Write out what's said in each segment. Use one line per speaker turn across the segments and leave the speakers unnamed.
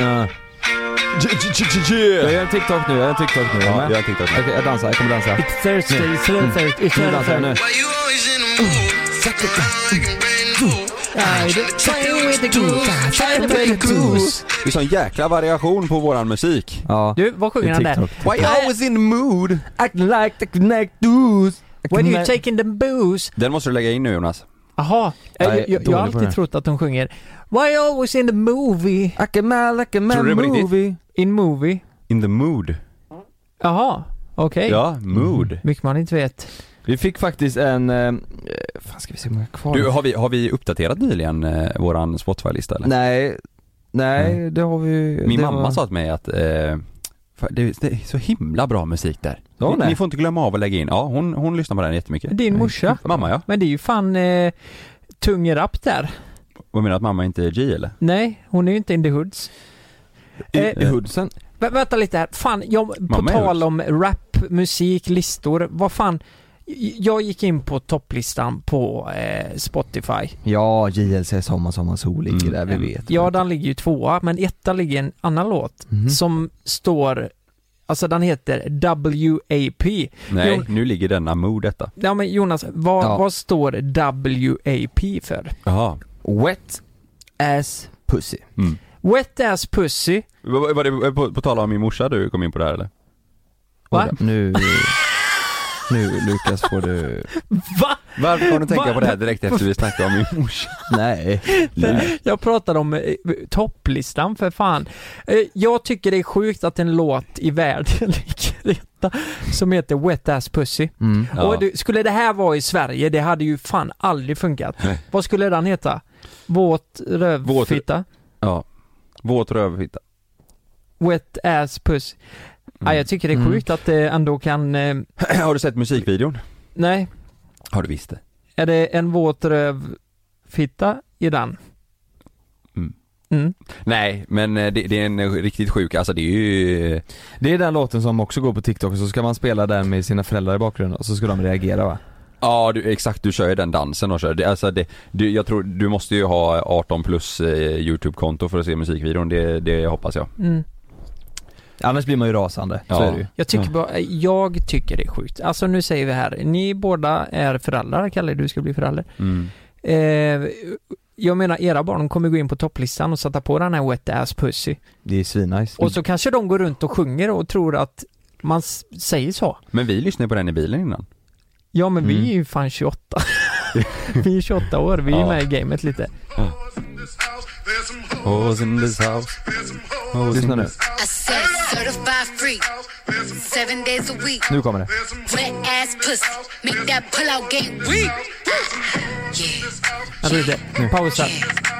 Ja.
Jag
Yeah.
gör en TikTok nu, jag gör en TikTok nu.
Ja,
Är du
jag
med?
har TikTok nu.
Okej, jag dansar, jag kommer dansa.
It's Thursday, it's Thursday, it's
Nu dansar jag, nu.
Thursday. Playing with the groove, playing with the groove.
Det är sån jäkla variation på våran musik.
Ja.
Du, vad sjunger
I
han där?
TikTok.
Why you always in the mood?
Acting like the connect dudes.
When you taking the booze.
Den måste du lägga in nu Jonas.
Jaha,
Nej,
jag, jag, jag
dålig
har
på det.
alltid trott att de sjunger Why always in the movie,
I can man, like a
Tror
man
du det är på riktigt?
movie.
in movie?
In the mood.
Jaha, okej.
Ja, mood.
Mycket man inte vet.
Vi fick faktiskt en, eh, fan ska vi se hur många kvar?
Du, har vi, har vi uppdaterat nyligen eh, våran Spotify-lista eller?
Nej, nej det har vi
Min
det
mamma
var...
sa till mig att eh, fan, det, det är så himla bra musik där.
Ja,
ni,
nej.
ni får inte glömma av att lägga in. Ja, hon, hon lyssnar på den jättemycket.
Din morsa.
Mamma ja.
Men det är ju fan eh, tung rap där.
Vad menar du att mamma inte är G eller?
Nej, hon är ju inte in the hoods. Eh,
i hoodsen.
Vä vänta lite här, fan, jag, på
Mamma är
tal om rap, musik, listor, vad fan. J- Jag gick in på topplistan på eh, Spotify.
Ja, JLC Sommar Sommar Sol ligger
Mm.
där, vi vet.
Ja, den ligger ju tvåa, men etta ligger en annan låt
Mhm.
som står, alltså den heter WAP.
Nej,
Jo.
nu ligger denna mood detta.
Ja men Jonas, vad,
Ja.
vad står WAP för?
Jaha.
Wet ass pussy.
Mm.
Wet ass pussy,
Var, var det eh, på, på tal om min morsa du kom in på det här eller?
Va?
Oj då, Nu, nu Lukas får du,
va?
Varför kom du
tänka
tänka
Va?
på det här direkt efter vi snackade om min morsa?
nej.
Jag pratade om eh, topplistan för fan. Eh, Jag tycker det är sjukt att en låt i världen ligger etta som heter Wet Ass Pussy.
Mm.
Ja.
Och du, skulle det här vara i Sverige, det hade ju fan aldrig funkat. Vad skulle den heta? Våt rövfitta?
Ja. Våt rövfitta.
Wet Ass Pussy? Ah, jag tycker det är
Mm.
sjukt att det ändå kan... eh,
Har du sett musikvideon?
Nej,
Har du visst det?
är det en våt rövfitta i den?
Mm.
Mm.
Nej, men eh, det, det är en eh, riktigt sjuk, alltså det är ju... eh,
Det är den låten som också går på TikTok och så ska man spela den med sina föräldrar i bakgrunden och så ska de reagera va?
Ja, du, exakt, du kör ju den dansen och kör. Det, alltså det, du, jag tror, du måste ju ha 18 plus eh, YouTube-konto för att se musikvideon, det, det hoppas jag.
Mm.
Annars blir man ju rasande, så
Ja.
är det ju.
Jag tycker, bara, eh, jag tycker det är sjukt. Alltså nu säger vi här, ni båda är föräldrar, Kalle du ska bli förälder.
Mm.
Eh, jag menar era barn kommer gå in på topplistan och sätta på den här wet ass pussy.
Det är svinnice.
Mm.
Och så kanske de går runt och sjunger och tror att man s- säger så.
Men vi lyssnade på den i bilen innan.
Ja men
Mm.
vi är ju fan 28. vi är 28 år, vi är
Ja.
med i gamet lite.
Hoes in this house. Hoes
Lyssna nu,
I said certified freak, seven days a week.
nu kommer det.
Wet ass pussy, make that pull out game weak. Yeah,
Vänta lite, pausa.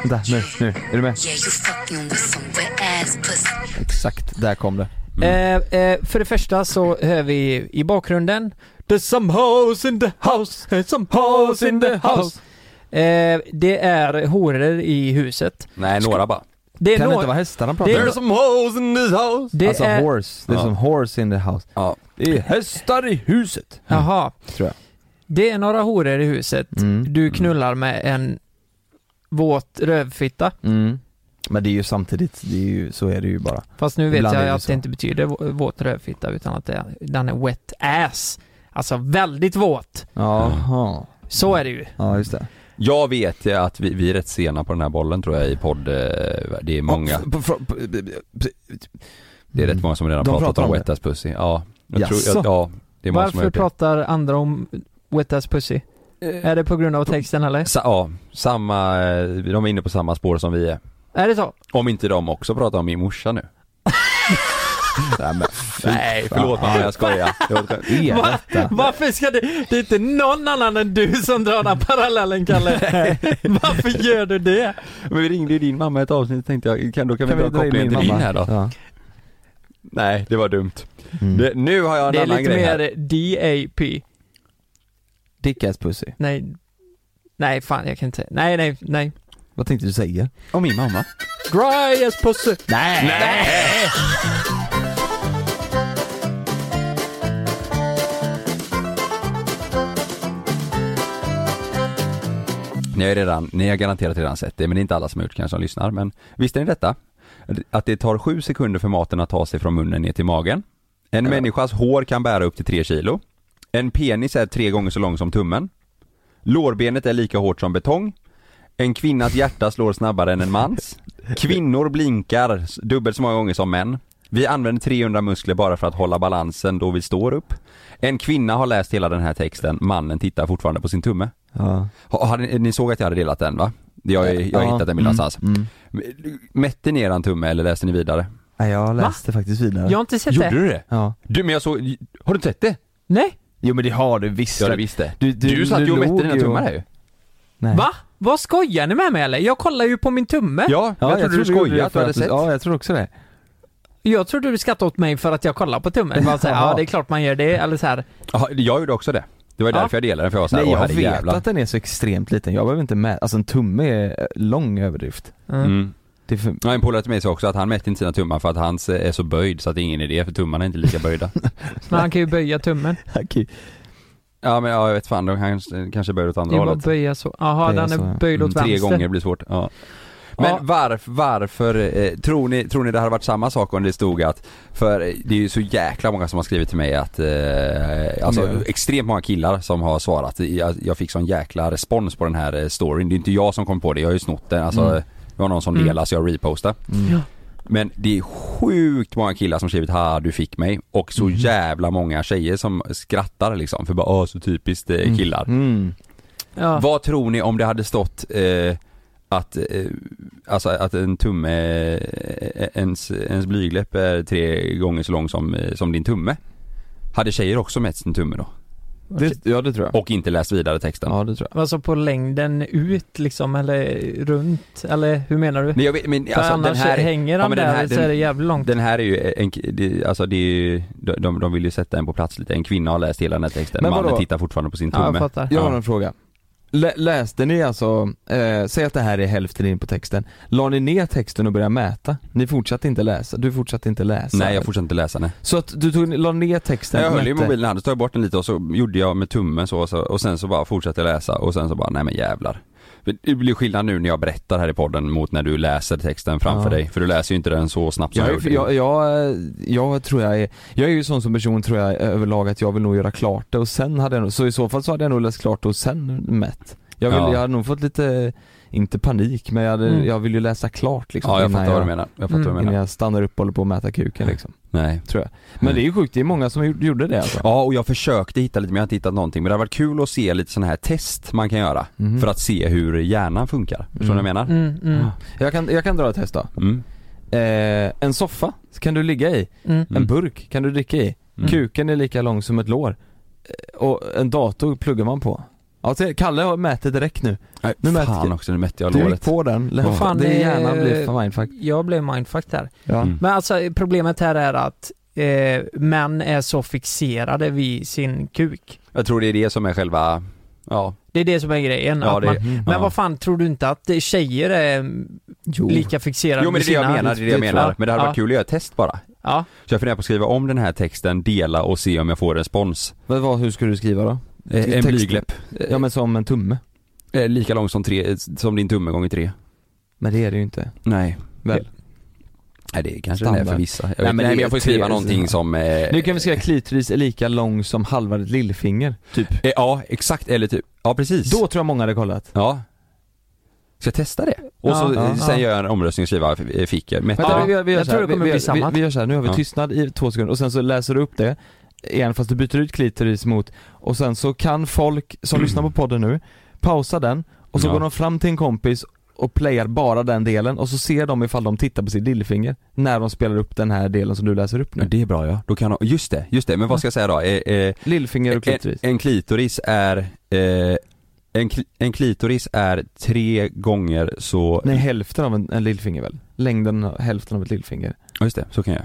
Vänta, nu, nu, är du med?
yeah, you fucking with some wet ass pussy.
Exakt, där kom det. Mm.
Eh, eh, för det första så hör vi i bakgrunden There's some hoes in the house, there's some hoes in the house eh, Det är horor i huset
Nej, några bara.
Det är
Kan det
nå-
inte vara hästarna pratar
Det är-
om?
some hoes in this house!
det
Alltså
är...
horse, det är
Ja.
som horse in the house.
Ja.
Det är hästar i huset.
Jaha
Mm. Tror jag.
Det är några horor i huset
Mm.
Du knullar med en våt rövfitta
Mm. Men det är ju samtidigt, det är ju, så är det ju bara.
Fast nu vet
Ibland är
jag
det
att
så.
det inte betyder vå- våt rövfitta utan att det är, den är wet ass Alltså väldigt våt
Jaha.
Så är det ju
Ja just det.
Jag vet ju att vi, vi är rätt sena på den här bollen tror jag i podd, eh, det är många, det är
Mm.
rätt många som redan
De
pratat
pratar
om
om det.
Wet Ass Pussy. Ja, jag tror,
Jaså?
jag, ja, det är många som har
Varför
gjort det.
pratar andra om wet ass pussy? Är det på grund av texten eller?
Sa, ja, samma, eh, de är inne på samma spår som vi är.
Är det så?
Om inte de också pratar om min morsa nu. Nej, men, nej förlåt mamma jag skojar. Jag skojar.
Är detta?
Varför ska det... Det är inte någon annan än du som drar den parallellen Kalle. Varför gör du det?
Men vi ringde ju din mamma ett avsnitt tänkte jag, kan, då kan, vi dra
dra in min
kopplingen till din
mamma?
här då?
Ja.
Nej, det var dumt.
Mm.
Det, nu har jag en
Det är
annan
lite
grej här.
mer DAP.
Dick ass pussy.
Nej. Nej fan jag kan inte. Nej nej nej.
Vad tänkte du säga?
Om min mamma.
Dry as pussy.
Nej!
Ni har, ju redan, ni har garanterat redan sett det, men det är inte alla som har gjort kanske som lyssnar. Men visste ni detta? att det tar sju sekunder för maten att ta sig från munnen ner till magen. En människas hår kan bära upp till tre kilo. En penis är tre gånger så lång som tummen. Lårbenet är lika hårt som betong. En kvinnas hjärta slår snabbare än en mans. Kvinnor blinkar s- dubbelt så många gånger som män. Vi använder 300 muskler bara för att hålla balansen då vi står upp. En kvinna har läst hela den här texten, mannen tittar fortfarande på sin tumme.
Ja.
Ha- Hade, ni- ni såg att jag hade delat den va? Jag, jag har
Ja.
hittat den
Mm,
någonstans.
mm.
Mätte ni eran tumme eller läste ni vidare?
Nej jag läste faktiskt vidare.
Jag har inte sett Typ det.
du det?
Ja.
Du men jag såg, har du inte sett det?
Nej.
Jo men det har du visst.
Ja det visste.
Du-
Du,
du-
du, satt
du
ju och mätte
låg
dina
ju och-
tummar här ju.
Nej.
Va? Vad skojar ni med mig eller? Jag kollar ju på min tumme.
Ja,
Ja,
jag trodde du
tror vi gjorde
skojade
det
att
för
du hade sett.
Ja jag tror också det.
Jag trodde du skrattade åt mig för att jag kollar på tummen. Bara så här,
Jaha.
ja det är klart man gör det, eller så här.
Ja, jag gjorde också det. Det var
Ja.
därför jag delade den för jag var såhär,
Nej
åh
jag vet
herrejävlar.
att den är så extremt liten, jag behöver inte mäta, alltså en tumme är eh, lång överdrift.
Mm.
Mm.
Det är för...
Ja, en polare till mig sa också att han mätte inte sina tummar för att hans eh, är så böjd så att det är ingen idé för tummarna är inte lika böjda.
Men han kan ju böja tummen.
Okej.
ja men ja, jag vet fan, de kanske, kanske böjer åt
Det
andra
är bara
hållet.
att böja så. Jaha,
Böja
den
så, ja.
är böjd åt
Mm, tre
vänster.
gånger blir svårt. Ja. Men
Ja.
varf, varför, eh, tror, ni, tror ni det hade varit samma sak om det stod att, för eh, det är ju så jäkla många som har skrivit till mig att, eh, alltså
Ja.
extremt många killar som har svarat. Jag, jag fick sån jäkla respons på den här eh, storyn. Det är inte jag som kom på det, jag har ju snott den. Alltså,
Mm.
Det var någon som
Mm.
delade så jag repostade.
Mm.
Ja.
Men det är sjukt många killar som skrivit 'ha du fick mig' och så
Mhm.
Mm.
jävla många tjejer som skrattar liksom för bara 'åh så typiskt eh, killar'
Mm.
Ja.
Vad tror ni om det hade stått eh, att, eh, alltså att en tumme, eh, ens, ens blygläpp är tre gånger så lång som, eh, som din tumme? Hade tjejer också mätt sin tumme då?
Det, ja det tror jag.
Och inte läst vidare texten?
Ja det tror jag.
Alltså på längden ut liksom, eller runt, eller hur menar du?
Nej jag vet, men
För
alltså den
annars
här,
hänger
ja,
han
men
där
den här-
så
den-
är det jävligt långt.
den här är ju, en, det, alltså det är ju, de- de, de vill ju sätta en på plats lite, en kvinna har läst hela den här texten,
Men vadå?
mannen tittar fortfarande på sin
ja, jag
tumme.
fattar.
Jag har
Ja.
en fråga. Lä, läste ni alltså, eh, säg att det här är hälften in på texten, la ni ner texten och började mäta? Ni fortsatte inte läsa, du fortsatte inte läsa? eh,
Nej jag fortsatte inte läsa nej.
Så att du tog, la ner texten
Nej, jag höll ju
mätte?
mobilen i handen, så tog jag bort den lite och så gjorde jag med tummen så och, så och sen så bara fortsatte jag läsa och sen så bara, nej men jävlar. För Det blir skillnad nu när jag berättar här i podden mot när du läser texten framför
Ja.
dig, för du läser ju inte den så snabbt som
Jag,
jag,
är-
gjorde.
jag, jag, jag tror jag är, jag är ju sån som person tror jag överlag att jag vill nog göra klart det och sen hade jag nog, så i så fall så hade jag nog läst klart och sen mätt. Jag, vill,
Ja.
jag hade nog fått lite, inte panik men jag, hade,
Mm.
jag vill ju läsa klart liksom
ja jag
innan
fattar vad du menar, jag fattar
Mm.
vad du
Innan
menar.
jag stannar upp och håller på att mäta kuken liksom,
Nej.
tror jag. Men det är ju sjukt, det är många som gjorde- gjorde det alltså.
Ja och jag försökte hitta lite men jag har inte hittat någonting, men det har varit kul att se lite sådana här test man kan göra
Mhm.
för att se hur hjärnan funkar. Förstår du vad jag menar?
Mm, mm,
Jag kan, jag kan dra ett test då.
Mm.
Eh, en soffa kan du ligga i,
mm.
Mm.
en burk kan du dricka i,
Mm.
kuken är lika lång som ett lår. Eh, Och en dator pluggar man på. Ja, se, Kalle har- mäter direkt nu.
Nej,
Nu mätte
fan
jag.
också, nu mätte jag
Du gick
låret.
på den,
Vad
fan,
det
eh,
är hjärnan blir för mindfuck.
Jag blev mindfucked där.
Ja.
Mm.
Men alltså problemet här är att eh, män är så fixerade vid sin kuk.
Jag tror det är det som är själva, ja.
Det är det som är grejen.
Ja,
att
det-
man,
Mm.
Men
ja.
vad fan, tror du inte att eh, tjejer är mm,
Jo.
lika fixerade
Jo men det är det jag
med sina-
menar, det är det jag
tror
menar. Men det hade
ja.
varit kul att göra ett test bara.
Ja.
Så jag funderar på att skriva om den här texten, dela och se om jag får respons.
Vad, vad, hur skulle du skriva då?
Eh, En
Text-
blygläpp.
Ja men som en tumme.
Eh, Lika lång som, tre, som din tumme gånger tre.
Men det är det ju inte.
Nej.
Väl?
Nej det kanske den är
Standard.
för vissa. Jag vet,
Nej,
nej,
men
men,
det är
jag får skriva
tre-
någonting som... Eh,
Nu kan vi skriva klitoris är lika lång som halva ditt lillfinger. Typ.
eh, ja exakt, eller typ, ja precis.
Då tror jag många hade kollat.
Ja. Ska jag testa det? Och
Ja,
så eh,
ja,
sen
ja.
gör jag en omröstning och skriver eh, fick jag, mätte
Vänta,
jag.
vi, vi, vi gör
jag
så här.
tror det kommer
vi,
bli
vi,
samma.
Vi, vi gör så här. nu har vi
Ja.
tystnad i två sekunder och sen så läser du upp det igen fast du byter ut klitoris mot och sen så kan folk som lyssnar på podden nu pausa den och så
Ja.
går de fram till en kompis och playar bara den delen och så ser de ifall de tittar på sitt lillfinger när de spelar upp den här delen som du läser upp
Ja,
nu.
det är bra ja. Då kan jag, just det, just det. Men vad ska jag säga då? Eh, eh,
Lillfinger och
en,
klitoris.
en klitoris är eh, en, kli- en klitoris är tre gånger så...
Nej hälften av en, en lillfinger väl? Längden, av- hälften av ett lillfinger.
Ja, just det, så kan jag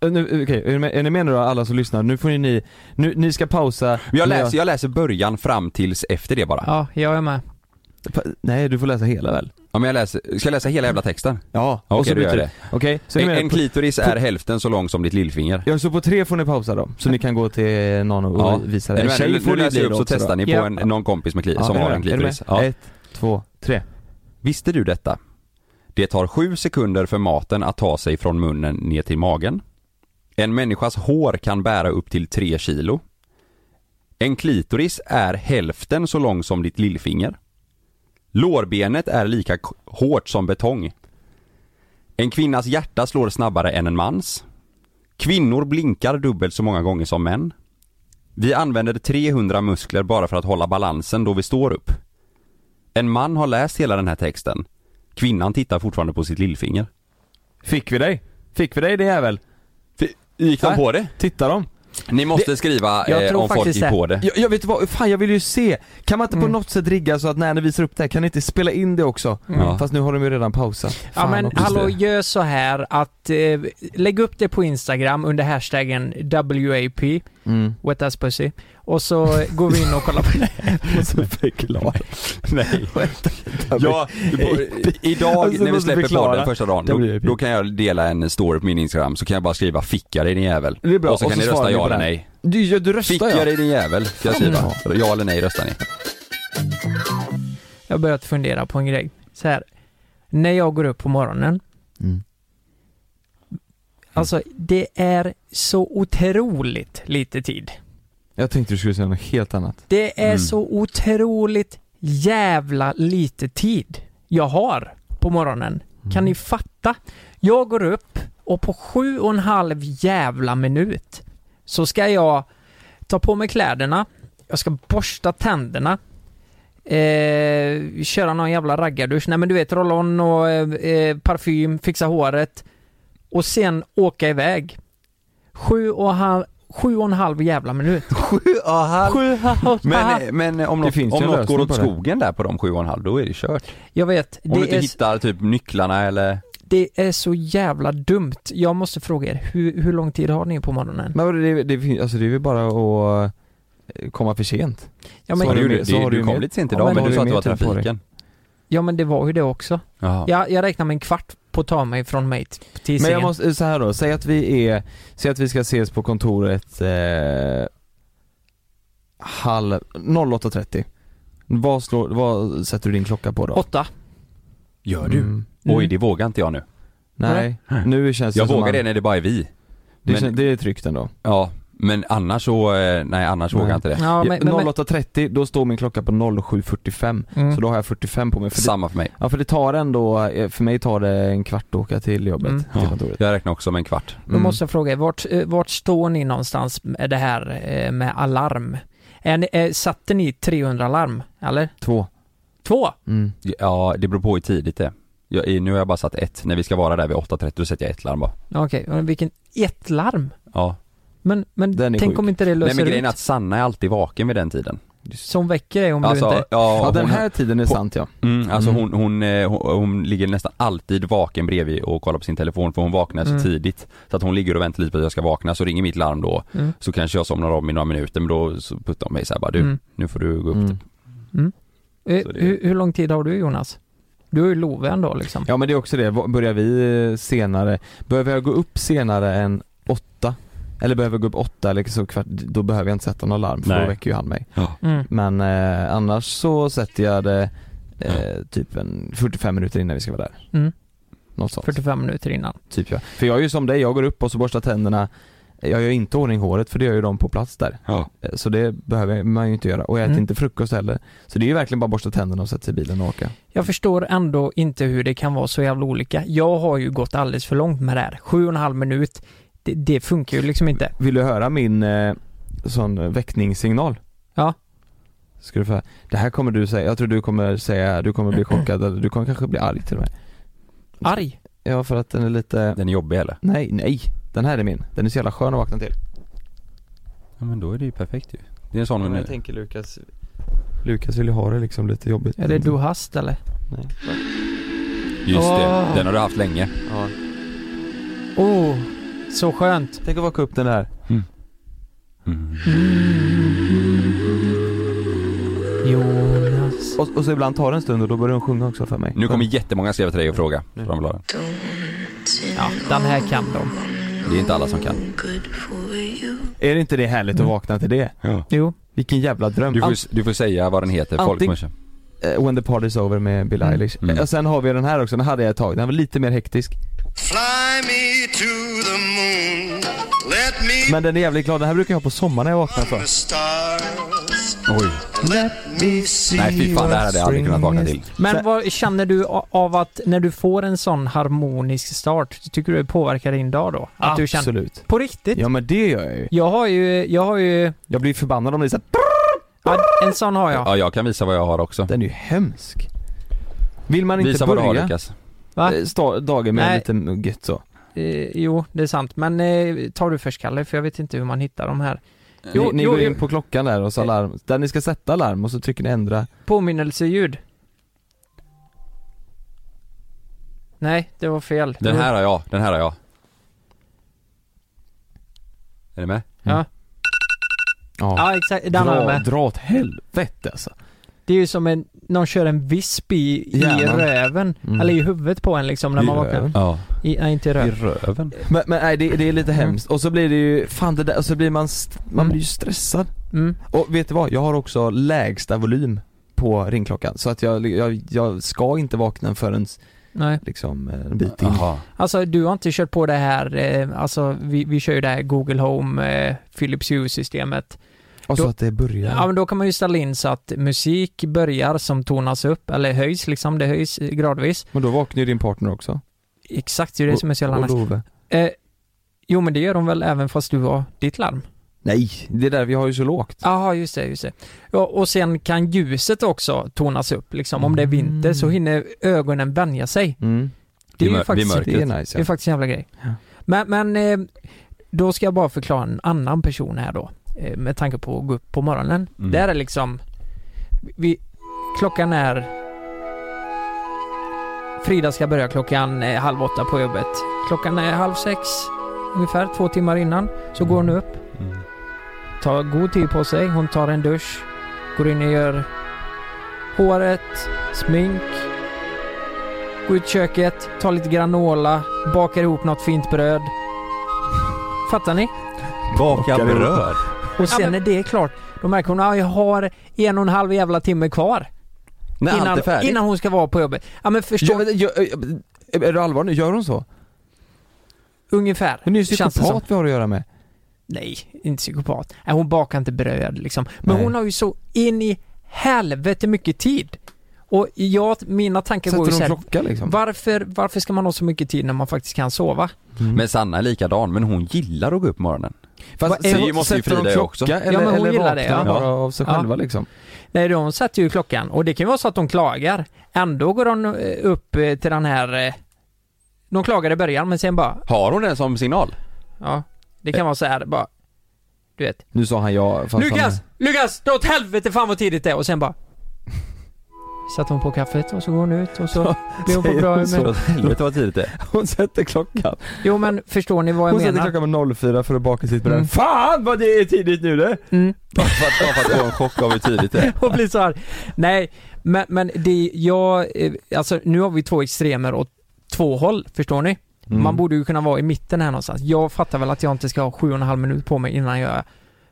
Äh, nu, Okej, är ni med- är ni med nu då alla som lyssnar? Nu får ju ni, nu, ni ska pausa
Men jag
Nu
läser, jag läser början fram tills efter det bara. Ja.
ja, jag är med.
Pa- Nej du får läsa hela väl?
men jag läser, ska jag läsa hela jävla texten?
Ja,
Okej,
och så
då gör
byter
jag
du.
det.
Okej, så är
En,
ni
en
med på-
klitoris är hälften så lång som ditt lillfinger.
Ja, så på tre får ni pausa då, så ni kan gå till någon och
Ja.
visa
Är
det.
du med? Nu- nu
det
läser jag upp så testar ni på
Ja.
en, någon kompis med kli, som
är du
har
med?
en
Är du
klitoris.
med?
Ja.
Ett, två, tre.
Visste du detta? Det tar 7 sekunder för maten att ta sig från munnen ner till magen. En människas hår kan bära upp till 3 kilo. En klitoris är hälften så lång som ditt lillfinger. Lårbenet är lika k- hårt som betong. En kvinnas hjärta slår snabbare än en mans. Kvinnor blinkar dubbelt så många gånger som män. Vi använder 300 muskler bara för att hålla balansen då vi står upp. En man har läst hela den här texten. Kvinnan tittar fortfarande på sitt lillfinger.
Fick vi dig? Fick vi dig det jävel?
Gick
de på
det?
Titta dem.
Ni måste skriva
jag
eh,
tror
om folk
faktiskt
gick
det.
på det.
Jag, jag vet vad, fan jag vill ju se! Kan man inte på något sätt rigga så att när ni visar upp det här, kan ni inte spela in det också?
Ja.
Fast nu har de ju redan pausat. Fan
Ja men
också.
hallå, gör så här att eh, lägg upp det på Instagram under hashtaggen WAP,
Mm.
wet ass pussy, och så går vi in och kollar på det.
måste förklara.
Nej.
Ja.
Ja, på, idag
Alltså,
när vi
måste
släpper
förklara.
podden första dagen,
Det blir
då,
ju
då kan jag dela en story på min Instagram så kan jag bara skriva 'Ficka dig din jävel'
Det är bra,
och så
och
kan
så
ni
svarar
rösta
ni
ja
på
eller
den.
nej.
Du, ja, du röstar
Ficka
ja. Mm.
dig din jävel, ska jag skriva. Ja eller nej röstar ni.
Jag har börjat fundera på en grej. Så här, när jag går upp på morgonen,
Mm.
alltså det är så otroligt lite tid.
Jag tänkte du skulle säga något helt annat.
Det är
Mm.
så otroligt jävla lite tid jag har på morgonen.
Mm.
Kan ni fatta? Jag går upp och på sju och en halv jävla minut så ska jag ta på mig kläderna, jag ska borsta tänderna, eh, köra någon jävla raggardusch, nej men du vet roll-on och eh, eh, parfym, fixa håret och sen åka iväg. Sju och, halv, sju och en halv jävla minut. Sju och en halv.
Men, eh, men om
Det
något,
finns ju
om
en
något går
lösning
åt
på det.
skogen där på de sju och en halv, då är det kört.
Jag vet,
Om du inte
det är,
hittar typ nycklarna eller...
det är så jävla dumt. Jag måste fråga er, hur, hur lång tid har ni på morgonen?
Men vadå, det, det, fin- alltså, det är väl bara att eh, komma för sent.
Ja
Så
Ja,
har
du,
men,
du
gjorde-
mer- så
du,
har
du,
du
kom
mer-
lite sent
Ja,
idag
men
men
har
du
du
sa att det
mer
var
tid på dig?
trafiken.
ja men det var ju det också.
Jaha.
Jag, jag räknar med en kvart på att ta mig från mig t- till
Men jag
sängen.
måste, så här då, säg att vi är, säg att vi ska ses på kontoret eh, halv, 08.30. Vad slår, vad sätter du din klocka på då?
Åtta.
Gör du?
Mm.
Oj,
Mm.
det vågar inte jag nu.
Nej, nu känns det
Jag
som
vågar
man-
det när det bara är vi.
det,
men-
kän- det är tryggt ändå.
Ja, men annars så, eh, nej annars
Nej.
vågar jag inte det.
Ja, men, men, men,
08.30, då står min klocka på 07.45.
Mm.
Så då har jag 45 på mig. För det,
Samma för mig.
ja för det tar ändå, eh, för mig tar det en kvart att åka till jobbet,
Mm.
till kontoret.
Jag räknar också med en kvart.
Mm.
då måste jag fråga er, vart, eh, vart står ni någonstans med det här eh, med alarm? Är ni, eh, satte ni 300 larm? Eller?
Två.
Två?
Mm.
Ja, det beror på hur tidigt det är. jag, är- Nu har jag bara satt ett. När vi ska vara där vid 8.30 då sätter jag ett larm bara.
Okej, men vilken... Ett larm?
Ja.
Men, men
Den är
tänk
sjuk.
om inte det
Nej
löser
men grejen
ut?
är att Sanna är alltid vaken vid den tiden.
Som väcker dig om du
Alltså,
inte...
ja,
Ja den
hon-
här tiden är
på-
sant ja.
Mm, alltså
Mm.
Hon, hon, eh, hon, hon ligger nästan alltid vaken bredvid och kollar på sin telefon för hon vaknar så
Mm.
tidigt. Så att hon ligger och väntar lite på att jag ska vakna, så ringer mitt larm då.
Mm.
Så kanske jag somnar om i några minuter men då så puttar hon mig så här bara du,
Mm.
nu får du gå upp.
Mm.
Typ.
Eh,
Så det-
hur, hur lång tid har du Jonas? Du är ju Love ändå liksom.
Ja men det är också det, Vad- börjar vi eh, senare, behöver jag gå upp senare än åtta? Eller behöver jag gå upp åtta eller så kvart, då behöver jag inte sätta något larm för
Nej.
då väcker ju han mig.
Mm.
Men eh, annars så sätter jag det eh, typ en 45 minuter innan vi ska vara där.
Mm.
Något sånt.
45 minuter innan.
Typ ja. För jag är ju som dig, jag går upp och så borstar tänderna jag gör inte ordning håret för det gör ju de på plats där.
Ja.
Eh, Så det behöver man ju inte göra. Och jag äter
Mm.
inte frukost heller. Så det är ju verkligen bara borsta tänderna och sätta sig i bilen och åka.
Jag förstår ändå inte hur det kan vara så jävla olika. Jag har ju gått alldeles för långt med det här. Sju och en halv minut, det, det funkar ju liksom inte.
Vill du höra min eh, sån väckningssignal?
Ja.
Ska du få höra? Det här kommer du säga, jag tror du kommer säga, du kommer bli chockad eller du kommer kanske bli arg till och med.
Arg?
Ja för att den är lite,
Den är jobbig eller?
nej nej, den här är min. Den är så jävla skön att vakna till.
Ja men då är det ju perfekt ju. Det är en sån
Men
hon
jag
är.
tänker Lukas, Lukas vill ju ha det liksom lite jobbigt.
Är det du hast eller?
Nej.
Just det,
Åh.
den har du haft länge.
Ja.
Oh, så skönt.
Tänk att vaka upp den där.
Jonas.
Och, och så ibland tar det en stund och då börjar den sjunga också för mig.
Nu kommer jättemånga skriva till dig och fråga. från bladen.
Ja, den här kan de.
Det är inte alla som kan.
Är det inte
Mm.
det härligt att vakna till det?
Jo.
Vilken jävla dröm.
Du får,
Ant-
ju- du får säga vad den heter, folk
Antingen-
kommer köpa.
eh, When the party's over med Bill
Mm.
Eilish.
Mm.
Och sen har vi den här också, den hade jag ett tag. Den var lite mer hektisk.
Fly me to the moon. Let me
Men den är jävligt glad. Den här brukar jag ha på sommaren när jag vaknar för.
the stars.
Oj.
Let me see.
Nej fy fan, det här hade jag aldrig kunnat vakna till.
Men vad känner du a- av att när du får en sån harmonisk start, tycker du det påverkar din dag då? Att du känner,
Absolut.
på riktigt?
Ja men det gör jag ju.
Jag har ju, jag har ju,
Jag blir förbannad om det är såhär,
ja, en sån har jag.
Ja, jag kan visa vad jag har också.
den är ju hemsk. Vill man inte
Visa vad du
börja
har Lukas.
Va?
eh, sta- dagen med
Nej.
lite gött så.
Eh, jo, det är sant. Men eh, tar du först Kalle, för jag vet inte hur man hittar de här. Jo,
ni ni
jo,
går
jo.
in på klockan där och så alarm, där ni ska sätta alarm och så trycker ni ändra.
Påminnelseljud. Nej, det var fel.
Den här har jag, den här har jag. Är ni med?
Mm.
Ja, ja exakt. Den har jag
dra,
med.
dra åt helvete alltså.
Det är ju som en, någon kör en visp i, i
Hjärnan.
röven.
Mm.
Eller i huvudet på en liksom när
I
man vaknar.
röven.
Ja.
I, nej, inte i
I
röven.
röven.
Men, men nej, det, det är lite hemskt. Och så blir det ju, fan det där, och så blir man, st- man
Mm.
blir ju stressad.
Mm.
Och vet du vad? Jag har också lägsta volym på ringklockan. Så att jag, jag, jag ska inte vakna förrän
Nej.
liksom eh, en bit in.
Jaha.
Alltså du har inte kört på det här, eh, alltså vi, vi kör ju det här Google Home, eh, Philips Hue-systemet.
Och så
Då-
att det börjar.
Ja men då kan man ju ställa in så att musik börjar som tonas upp, eller höjs liksom, det höjs eh, gradvis.
Men då vaknar ju din partner också.
Exakt, det är ju det som är så jävla
Och- och
nice.
Love.
Eh, jo men det gör de väl även fast du har ditt larm?
Nej, det är där vi har ju så lågt.
Jaha, just det, just det. Ja, och sen kan ljuset också tonas upp liksom. Om det är vinter så hinner ögonen vänja sig.
Mm.
Det är
Vid
ju
mör-
faktiskt,
vid mörker.
Det är nice
det är
ja.
faktiskt en jävla grej.
Ja.
Men, men eh, då ska jag bara förklara en annan person här då. eh, Med tanke på att gå upp på morgonen.
Mm.
Där är liksom... Vi, klockan är... Frida ska börja klockan eh, halv åtta på jobbet. Klockan är halv sex ungefär, två timmar innan. Så går hon upp
Mm.
tar god tid på sig. Hon tar en dusch, går in och gör håret, smink, går ut i köket, tar lite granola, bakar ihop något fint bröd. Fattar ni?
Baka
Bakar
bröd.
Och sen
men-
när det är klart, då märker hon att jag har en och en halv jävla timme kvar
När allt är
innan,
färdigt.
innan hon ska vara på jobbet. Ja men förstå,
Ja, men, jag- jag- är du allvar nu? Gör hon så?
ungefär.
Men det är ju en
känns det som.
psykopat vi har att göra med.
Nej, inte psykopat. Nej, hon bakar inte bröd liksom. Men
Nej.
hon har ju så in i helvete mycket tid. Och jag, mina tankar går ju
Sätter hon
såhär,
klocka liksom?
varför, varför ska man ha så mycket tid när man faktiskt kan sova?
Men Sanna är likadan, men hon gillar att gå upp på morgonen.
Fast,
är
sätter
hon- måste ju
sätter hon
Frida göra
klocka,
också.
Eller,
Ja, men hon
eller
gillar det,
vaknar
ja.
hon bara av sig
Ja.
själva liksom?
Nej, de sätter ju klockan och det kan ju vara så att de klagar. Ändå går de eh, upp eh, till den här... eh, De klagar i början men sen bara,
Har hon den som signal?
ja. Det kan vara så här bara, du vet.
Nu Eh. sa han ja fast
Lukas!
Han,
Lukas! Dra åt helvete fan vad tidigt det är! Och sen bara... Satte hon på kaffet och så går hon ut och så blir hon på
säger
bra
hon så?
humör.
Åt helvete vad tidigt det är.
hon sätter klockan.
Jo men förstår ni vad jag
Hon sätter
menar?
klockan med 04 för att baka sitt bröd.
Mm.
Fan vad det är tidigt nu det!
Mm.
Bara för att- bara för att få en chock av hur tidigt det är.
och blir så här. Nej, men, men det, jag, eh, alltså nu har vi två extremer åt två håll, förstår ni?
Mm.
Man borde ju kunna vara i mitten här någonstans. Jag fattar väl att jag inte ska ha sju och en halv minut på mig innan jag,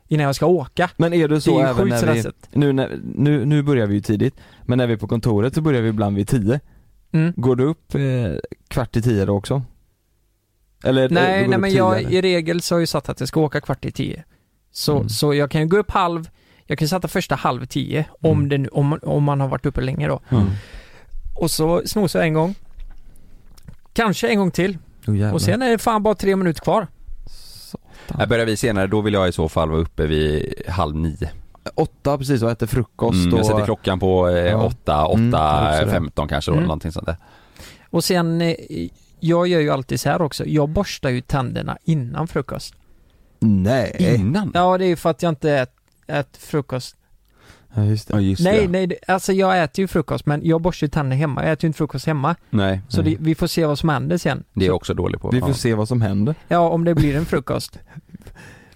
innan jag ska åka.
Men är det
Det
så
är ju
även
sjukt
när vi,
stressigt.
nu, när, nu, nu börjar vi ju tidigt, men när vi är på kontoret så börjar vi ibland vid 10.
Mm.
Går du upp eh, kvart i 10 då också? Eller du
Nej,
går
nej
upp
men jag,
tidigare?
i regel så har jag ju satt att jag ska åka kvart i tio. Så,
Mm.
så jag kan ju gå upp halv, jag kan sätta första halv tio,
Mm.
om, det nu, om, om man har varit uppe länge då.
Mm.
Och så snosar jag en gång. Kanske en gång till.
Oh, jävlar.
Och sen är det fan bara tre minuter kvar.
Satan.
Här börjar vi senare, då vill jag i så fall vara uppe vid halv nio.
Åtta precis och äter frukost
Mm,
och...
jag sätter klockan på eh,
Ja.
åtta,
Mm, jag
åtta,
också det.
femton kanske då,
Mm.
eller någonting sånt där.
Och sen, eh, jag gör ju alltid så här också, jag borstar ju tänderna innan frukost.
Mm. Nej.
Innan?
Ja, det är ju för att jag inte äter ät frukost.
Ja, just
Ja,
det.
just
nej,
det.
nej, det- alltså jag äter ju frukost men jag borstar ju tänderna hemma. Jag äter ju inte frukost hemma.
Nej,
Så
Nej.
det, vi får se vad som händer sen.
det är jag också dålig på.
Vi får
Ja.
se vad som händer.
Ja, om det blir en frukost.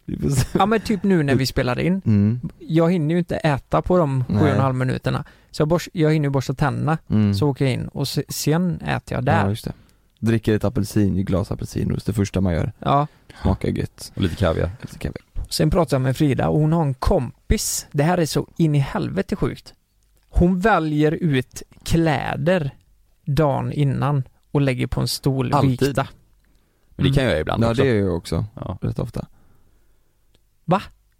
Vi får se.
Ja, men typ nu när vi spelar in.
Mm.
Jag hinner ju inte äta på de sju och
Nej.
en halv minuterna. Så jag, borst, jag hinner ju borsta tänderna.
Mm.
Så åker jag in och se, sen äter
Ja,
jag där.
just det. Dricker ett apelsin, ett glas apelsinjuice, det första man gör.
Ja.
Smakar gött.
Och lite kaviar.
Lite kaffe.
Sen pratade jag med Frida och hon har en kompis. Det här är så in i helvete sjukt. Hon väljer ut kläder dagen innan och lägger på en stol
Alltid.
vikta.
Men det kan jag göra ibland
Ja
också.
det gör jag också,
Ja.
rätt ofta.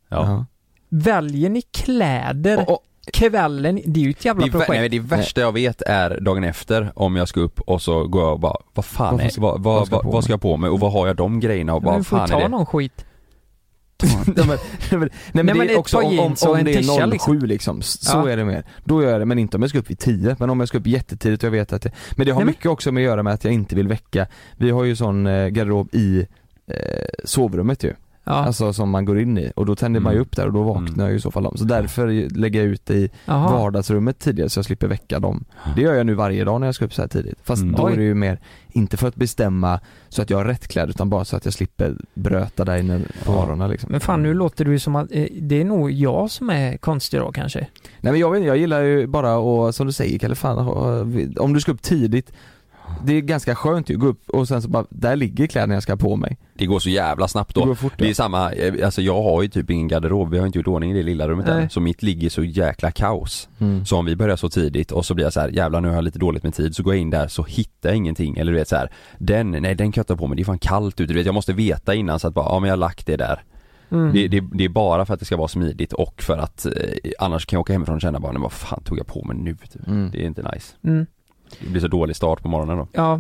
Ja.
Väljer ni kläder
Och, och,
kvällen? Det är ju ett jävla
Det, är, vä-
projekt.
nej, men det värsta jag vet är dagen efter om jag ska upp och så går jag och bara Vad fan
Varför
är,
ska-
vad, vad,
vad ska jag
vad,
på
vad ska jag på mig och vad har jag de grejerna och
Men du
vad
får ju
fan är
ta
det?
någon skit.
nej, men, nej, men, nej, men
men
det
ett
är också
par
om, om,
jeans och
om
en
det
tisha,
är 07
liksom.
liksom, S- så
Ja.
är det mer. Då gör jag det, men inte om jag ska upp vid 10, men om jag ska upp jättetidigt och jag vet att det, Men det har
Nej, men-
mycket också med att göra med att jag inte vill väcka, vi har ju sån eh, garderob i eh, sovrummet ju.
Ja,
Alltså som man går in i och då tänder man ju
Mm.
upp där och då vaknar
Mm.
jag ju i så fall om. Så därför lägger jag ut det i
jaha.
vardagsrummet tidigare så jag slipper väcka dem. Det gör jag nu varje dag när jag ska upp så här tidigt. Fast
Mm.
då
Oj.
är det ju mer, inte för att bestämma så att jag har rätt kläder utan bara så att jag slipper bröta där inne på
Ja.
morgonen liksom.
Men fan nu låter det ju som att eh, det är nog jag som är konstig då kanske.
Nej men jag vet inte, jag gillar ju bara att, som du säger Kalle, fan, ha- om du ska upp tidigt det är ganska skönt ju, gå upp och sen så bara, där ligger kläderna jag ska ha på mig.
Det går så jävla snabbt
Det
då.
går fort
Det
ja.
är samma, eh, alltså jag har ju typ ingen garderob, vi har inte gjort ordning i det lilla rummet
Nej.
än. Så mitt ligger så jäkla kaos.
mm.
Så om vi börjar så tidigt och så blir jag så här, jävlar nu har jag lite dåligt med tid, så går jag in där så hittar jag ingenting. Eller du vet så här, den, nej den kan jag ta på mig, det är fan kallt ute. Du vet jag måste veta innan så att bara, ja men jag har lagt det där.
Mm.
Det, det, det är bara för att det ska vara smidigt och för att eh, annars kan jag åka hemifrån och känna bara, "Nej, vad fan tog jag på mig nu? Typ.
Mm.
Det är inte nice.
Mm.
Det blir så dålig start på morgonen då.
Ja.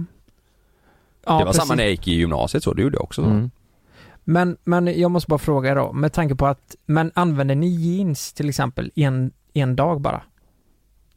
Ja,
det var
precis.
samma när jag gick i gymnasiet så, det gjorde jag också. så.
Mm.
Men, men jag måste bara fråga då, med tanke på att, men använder ni jeans till exempel en, en dag bara?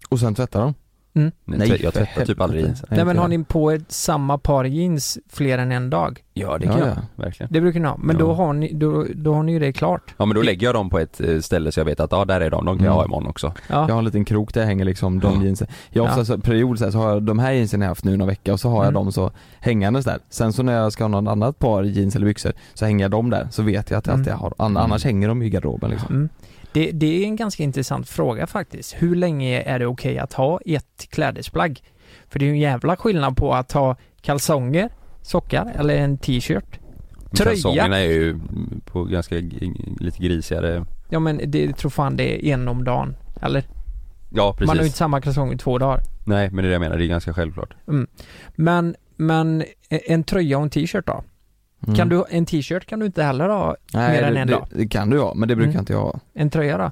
Och sen tvättar de.
Nej,
Nej,
tvätt- jag
för
tvättar typ
helvete.
aldrig jeansen.
Nej men
inte
har
jag.
ni på er samma par jeans fler än en dag?
Ja det
Ja,
kan
ja.
jag, verkligen.
Det brukar ni ha, men då,
Ja.
har ni, då, då har ni ju det klart.
Ja men då lägger jag dem på ett eh, ställe så jag vet att ja där är de, de kan jag
Mm.
ha imorgon också.
Ja.
Jag har en liten krok där jag hänger liksom de
Ja.
jeansen. Jag har
Ja.
ofta så period så, här, så har jag de här jeansen jag har haft nu någon vecka och så har jag
Mm.
dem så hängandes där. Sen så när jag ska ha något annat par jeans eller byxor så hänger jag dem där så vet jag att jag
Mm.
alltid har, an-
Mm.
annars hänger de i garderoben liksom.
Mm. Det, det är en ganska intressant fråga faktiskt. Hur länge är det okej att ha ett klädesplagg? För det är ju en jävla skillnad på att ha kalsonger, sockar eller en t-shirt. Tröja.
Kalsongerna är ju mm, på ganska g- lite grisigare.
Ja men det tror fan det är en om dagen. Eller?
Ja precis.
Man har ju inte samma kalsonger i två dagar.
Nej men det är det jag menar, det är ganska självklart.
Men, men e, en tröja och en t-shirt då?
Mm.
Kan du, en t-shirt kan du inte heller ha
Nej,
mer än
det,
en
det,
dag?
Det kan du ha men det brukar
Mm.
inte jag ha.
En tröja då?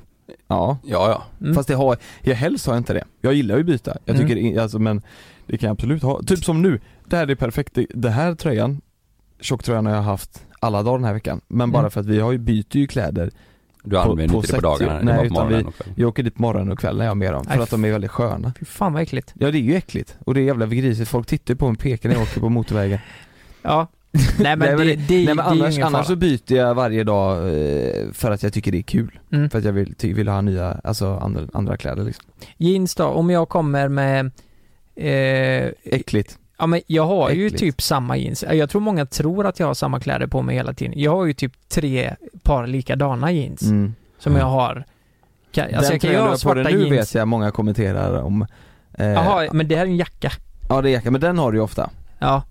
Ja.
Ja ja.
Mm.
Fast det har, jag helst har jag inte det. Jag gillar ju byta. Jag
Mm.
tycker, i- alltså, men det kan jag absolut ha. Typ som nu, det här är perfekt. Det, det här tröjan, tjocktröjan har jag haft alla dagar den här veckan. Men bara
Mm.
för att vi har ju, byter ju kläder
Du använder
på
inte det på
sätt-
dagarna,
nej,
det är bara på
utan
morgonen
vi-
och kvällen.
Jag åker dit morgon och kväll när jag har med dem, för
Nej,
att de är väldigt sköna.
Fy fan vad äckligt.
Ja det är ju äckligt, och det är jävla grisigt, folk tittar ju på mig och pekar när jag åker på motorvägen.
Ja. Nej men,
Nej, men
det, det, det,
Nej men
är ju
annars,
ingen
annars så
fara.
byter jag varje dag eh, för att jag tycker det är kul.
Mm.
För att jag vill, ty, vill ha nya, alltså andra, andra kläder liksom.
Jeans då? Om jag kommer med eh,
Äckligt.
Ja men jag har ju
Äckligt.
typ samma jeans. Jag tror många tror att jag har samma kläder på mig hela tiden. Jag har ju typ tre par likadana jeans
Mm.
som jag har. Kan, alltså
Den
jag kan ju
tröjan du
ha
har på dig
svarta
nu
jeans.
vet jag många kommenterar om. Eh,
Jaha, men det här är en jacka.
Ja det är jacka, men den har du ju ofta.
Ja.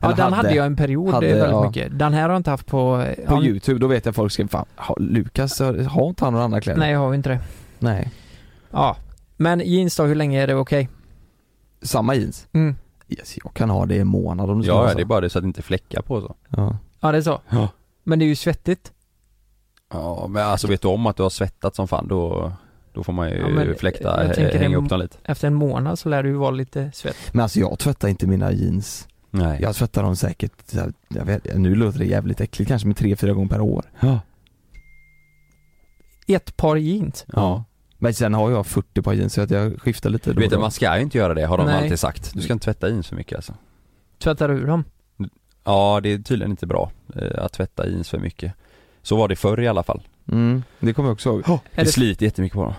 Ja,
Eller
den hade, jag en period
Hade,
väldigt
ja.
mycket. Den här har jag inte haft på... eh,
På
ja,
youtube, då vet jag folk skriver fan, har Lukas, har har inte han några andra kläder?
Nej, jag har ju inte det.
Nej.
Ja. Men jeans då, hur länge är det okej?
Samma jeans?
Mm.
Yes, jag kan ha det i en månad om du
Ja,
ha
ja
så.
det är bara det så att det inte fläckar på så.
ja.
Ja, det är så.
Ja.
Men det är ju svettigt.
Ja men alltså vet du om att du har svettat som fan då, då får man ju
Ja, men
fläkta,
jag
hä-
tänker
hänga
det-
upp dem lite.
Efter en månad så lär du ju vara lite svett.
Men alltså jag tvättar inte mina jeans.
Nej.
Jag tvättar dem säkert, så här, jag vet, nu låter det jävligt äckligt, kanske med tre, fyra gånger per år.
Ja.
Ett par jeans.
ja.
Men sen har jag 40 par jeans så att jag skiftar lite då
Du
och
vet
då.
att man ska ju inte göra det har de
Nej.
alltid sagt. Du ska inte tvätta jeans för mycket alltså.
Tvättar du ur dem?
Ja det är tydligen inte bra eh, att tvätta jeans för mycket. Så var det förr i alla fall.
mm, Det kommer jag också ihåg.
Det,
Är det-
sliter jättemycket på dem.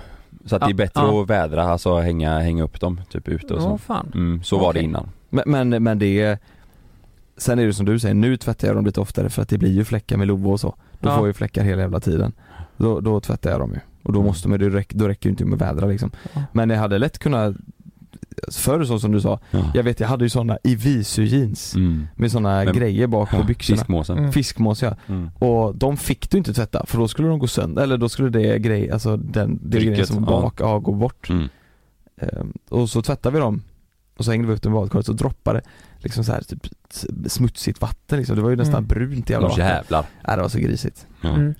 Så att
Ja,
det är bättre
ja.
att vädra, alltså hänga, hänga upp dem typ ute och
Ja,
så.
fan.
Mm, så var det
Okej.
innan.
Men, men, men det är Sen är det som du säger, nu tvättar jag dem lite oftare för att det blir ju fläckar med Lovo och så. Då
Ja.
får jag ju fläckar hela jävla tiden. Då, då tvättar jag dem ju. Och då måste man, det räck, då räcker det inte med att vädra liksom.
Ja.
Men jag hade lätt kunnat Förr så som du sa,
Ja.
jag vet jag hade ju sådana Ivisu jeans
Mm.
med sådana
Men-
grejer bak på
Ja,
byxorna.
Fiskmåsen.
Mm.
Fiskmås ja.
Mm.
Och de fick du inte tvätta för då skulle de gå sönder, eller då skulle det grej, alltså den, det
Trycket,
grejen som var
ja.
bak, ja. gå bort.
Mm.
Ehm, och så tvättade vi dem och så hängde vi upp dem i badkaret och droppade liksom så här typ s- smutsigt vatten liksom. Det var ju nästan
Mm.
brunt jävla
Åh
vatten.
jävlar. Eh.
Nej, det var så grisigt.
Ja.
Mm.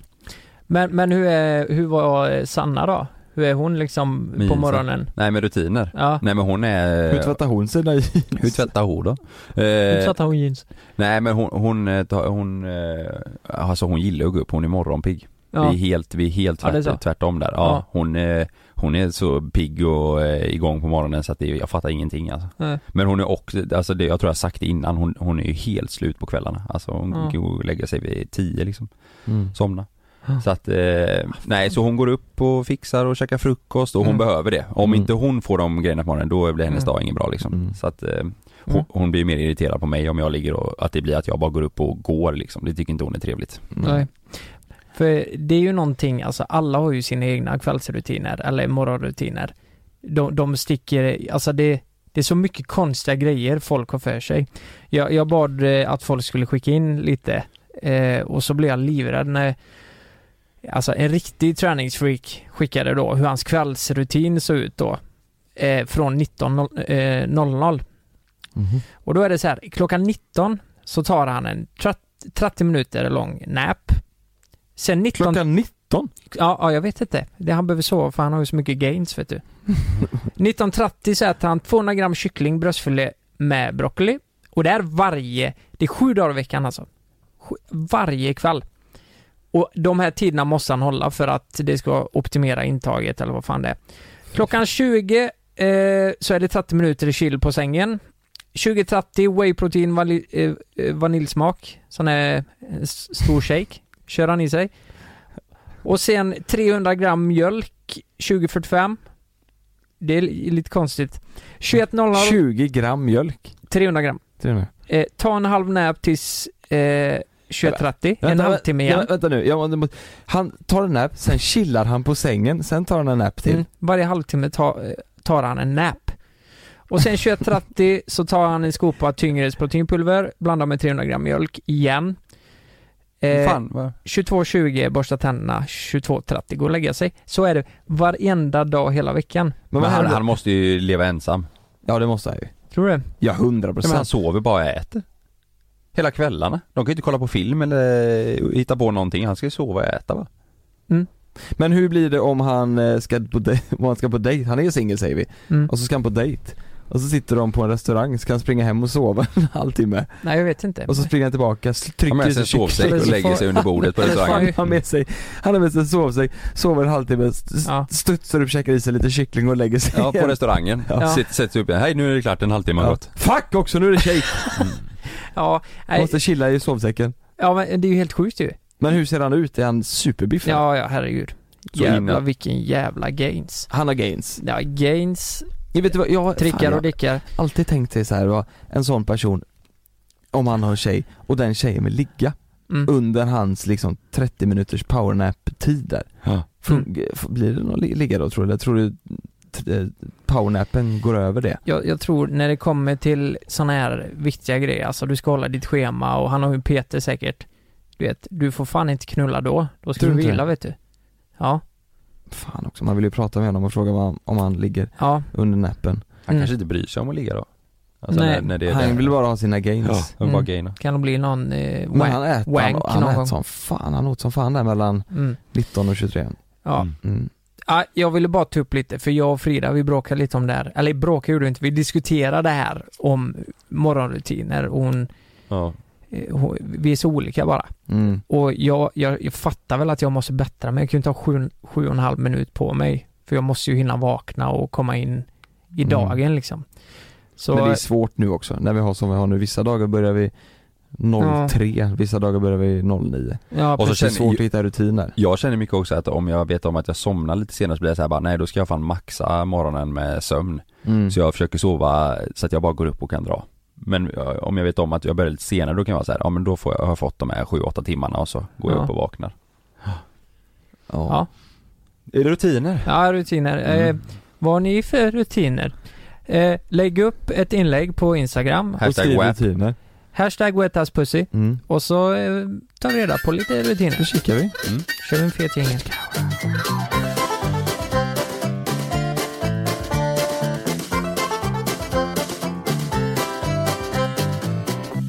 Men, men hur, är, hur var eh, Sanna då? Hur är hon liksom
Minsa.
på morgonen?
Nej men rutiner.
Ja,
Nej men hon är...
Hur tvättar hon sina jeans?
Hur tvättar hon då?
hur
Eh,
satte hon jeans?
nej men hon, hon, eh, tar- hon, eh, alltså hon gillar att gå upp, hon är morgonpigg.
Ja.
Vi är helt, vi är helt
Ja, det är
tvärt,
så.
tvärtom där. Ja,
Ja.
Hon, eh, hon är så pigg och eh, igång på morgonen så att det, jag fattar ingenting alltså.
Nej.
Men hon är också, alltså det, jag tror jag har sagt det innan, hon, hon är ju helt slut på kvällarna. Alltså hon
Ja.
går och lägger sig vid tio liksom,
Mm.
somna. Så att, eh, nej så hon går upp och fixar och käkar frukost och hon
Mm.
behöver det. Om
Mm.
inte hon får de grejerna på morgonen då blir hennes
Mm.
dag ingen bra liksom.
Mm.
Så att eh, hon, hon blir mer irriterad på mig om jag ligger och, att det blir att jag bara går upp och går liksom. Det tycker inte hon är trevligt.
Nej. För det är ju någonting, alltså alla har ju sina egna kvällsrutiner eller morgonrutiner. De, de sticker, alltså det, det är så mycket konstiga grejer folk har för sig. Jag, jag bad eh, att folk skulle skicka in lite eh, och så blev jag livrädd när Alltså en riktig träningsfreak skickade då hur hans kvällsrutin såg ut då. Eh, från eh, 19.00.
Mhm.
Och då är det så här, klockan 19 så tar han en 30 30 minuter lång nap. Sen 19...
Klockan 19?
Ja, ja, jag vet inte. Det han behöver sova för han har ju så mycket gains vet du. 19.30 så äter han 200 gram kyckling, bröstfilé med broccoli. Och det är varje, det är sju dagar i veckan alltså. Sju- Varje kväll. Och de här tiderna måste han hålla för att det ska optimera intaget eller vad fan det är. Klockan 20 eh, så är det 30 minuter i chill på sängen. 20.30 whey protein vali- eh, eh, vaniljsmak. Sån här eh, s- stor shake. Kör han i sig. Och sen 300 gram mjölk 2045. Det är li- lite konstigt. 21.00
20 gram mjölk.
300 gram.
Till och med.
Eh, ta en halv nap tills eh, 21.30. En
Vänta,
halvtimme
vä-
igen.
Ja, vänta nu, jag, måste- måste- han tar en nap, sen chillar han på sängen, sen tar han en nap till.
Mm. Varje halvtimme ta, eh, tar han en nap. Och sen 21.30 så tar han en skopa tyngre proteinpulver, blandar med 300 gram mjölk igen. Eh,
Fan, vad...
22.20 borsta tänderna, 22.30 gå och lägga sig. Så är det varenda dag hela veckan.
Men
Men vad
han,
händer?
han måste ju leva ensam.
Ja det måste han ju.
Tror du det?
Ja, hundra
Men han
procent.
sover bara och äter. Hela kvällarna. De kan ju inte kolla på film eller hitta på någonting. Han ska ju sova och äta va?
Men hur blir det om han eh, ska på dej- om han ska på dejt? Han är ju singel säger vi.
Mm.
Och så ska han på dejt. Och så sitter de på en restaurang, ska han springa hem och sova en halvtimme.
Nej, jag vet inte.
Och så springer han tillbaka, sl-
Han
trycker i
har med sig
sig
en sovsäck
kyckling.
och lägger sig under bordet på restaurangen.
Han har med sig, han har med sig en sovsäck, sover en halvtimme, st-
Ja.
studsar upp, käkar i sig lite kyckling och lägger sig
Ja, på
igen.
restaurangen.
Ja.
Sitt- Sätter sig upp igen. Hej nu är det klart, en halvtimme har
Ja.
gått.
Fuck också, nu är det shake!
Ja,
Han
nej,
måste chilla i sovsäcken.
ja, men det är ju helt sjukt ju.
Men hur ser han ut? Är han superbiffig?
Ja, ja, herregud.
Så
Jävlar
innan-
vilken jävla gains.
Han har gains.
Ja, gains,
Jag vet du vad, jag, fan,
trickar
jag
och dickar.
har alltid tänkt sig så här, va, en sån person, om han har en tjej, och den tjejen vill ligga
Mm.
under hans liksom 30 minuters powernap-tid där.
Ja.
Fun- f- Blir det någon li- ligga då tror du? Eller tror du t- eh, powernappen går över det?
Jag, jag tror när det kommer till såna här viktiga grejer, alltså du ska hålla ditt schema och han har ju Peter säkert. Du vet, du får fan inte knulla då. Då ska
Tror
du
du inte
vila
det?
vet du. Ja,
Fan också, man vill ju prata med honom och fråga om han, om han ligger
ja.
under nappen.
Han
Mm.
kanske inte bryr sig om att ligga då. Alltså
Nej,
när, när det är
Han
där.
vill bara ha sina gains.
Ja, och vara
Mm.
gay då.
Kan det bli någon eh,
Men
wank?
han äter,
wank
han, han
någon gång.
äter som fan, han åt som fan där mellan
Mm.
19 och 23.
Ja.
Mm.
Mm.
Ja, jag ville bara ta upp lite, för jag och Frida vi bråkade lite om det här. Eller bråkade gjorde vi inte, vi diskuterade det här om morgonrutiner och hon,
Ja.
eh, hon, vi är så olika bara.
Mm.
Och jag, jag, jag fattar väl att jag måste bättra mig, jag kan ju inte ha sju, sju och en halv minut på mig. För jag måste ju hinna vakna och komma in i
Mm.
dagen liksom. Så,
Men det är svårt nu också, när vi har som vi har nu, vissa dagar börjar vi 03, vissa dagar börjar vi 09.
ja,
Och så
precis.
Det är svårt
ju-
att hitta rutiner.
Jag känner mycket också att om jag vet om att jag somnar lite senare så blir jag så här bara nej då ska jag fan maxa morgonen med sömn.
Mm.
Så jag försöker sova så att jag bara går upp och kan dra. Men eh, om jag vet om att jag börjar lite senare då kan jag vara så här, ja men då får jag, har jag fått de här 7-8 timmarna och så går
Ja.
jag upp och vaknar.
Ja.
Är det rutiner?
Ja, rutiner.
Mm.
Eh, vad har ni för rutiner? Eh, lägg upp ett inlägg på Instagram.
Hashtag
Och skriv
WAP.
rutiner.
Hashtag wethasspussy.
Mm.
Och så eh, ta reda på lite rutiner.
Då kikar vi.
Kör vi en fet jingel.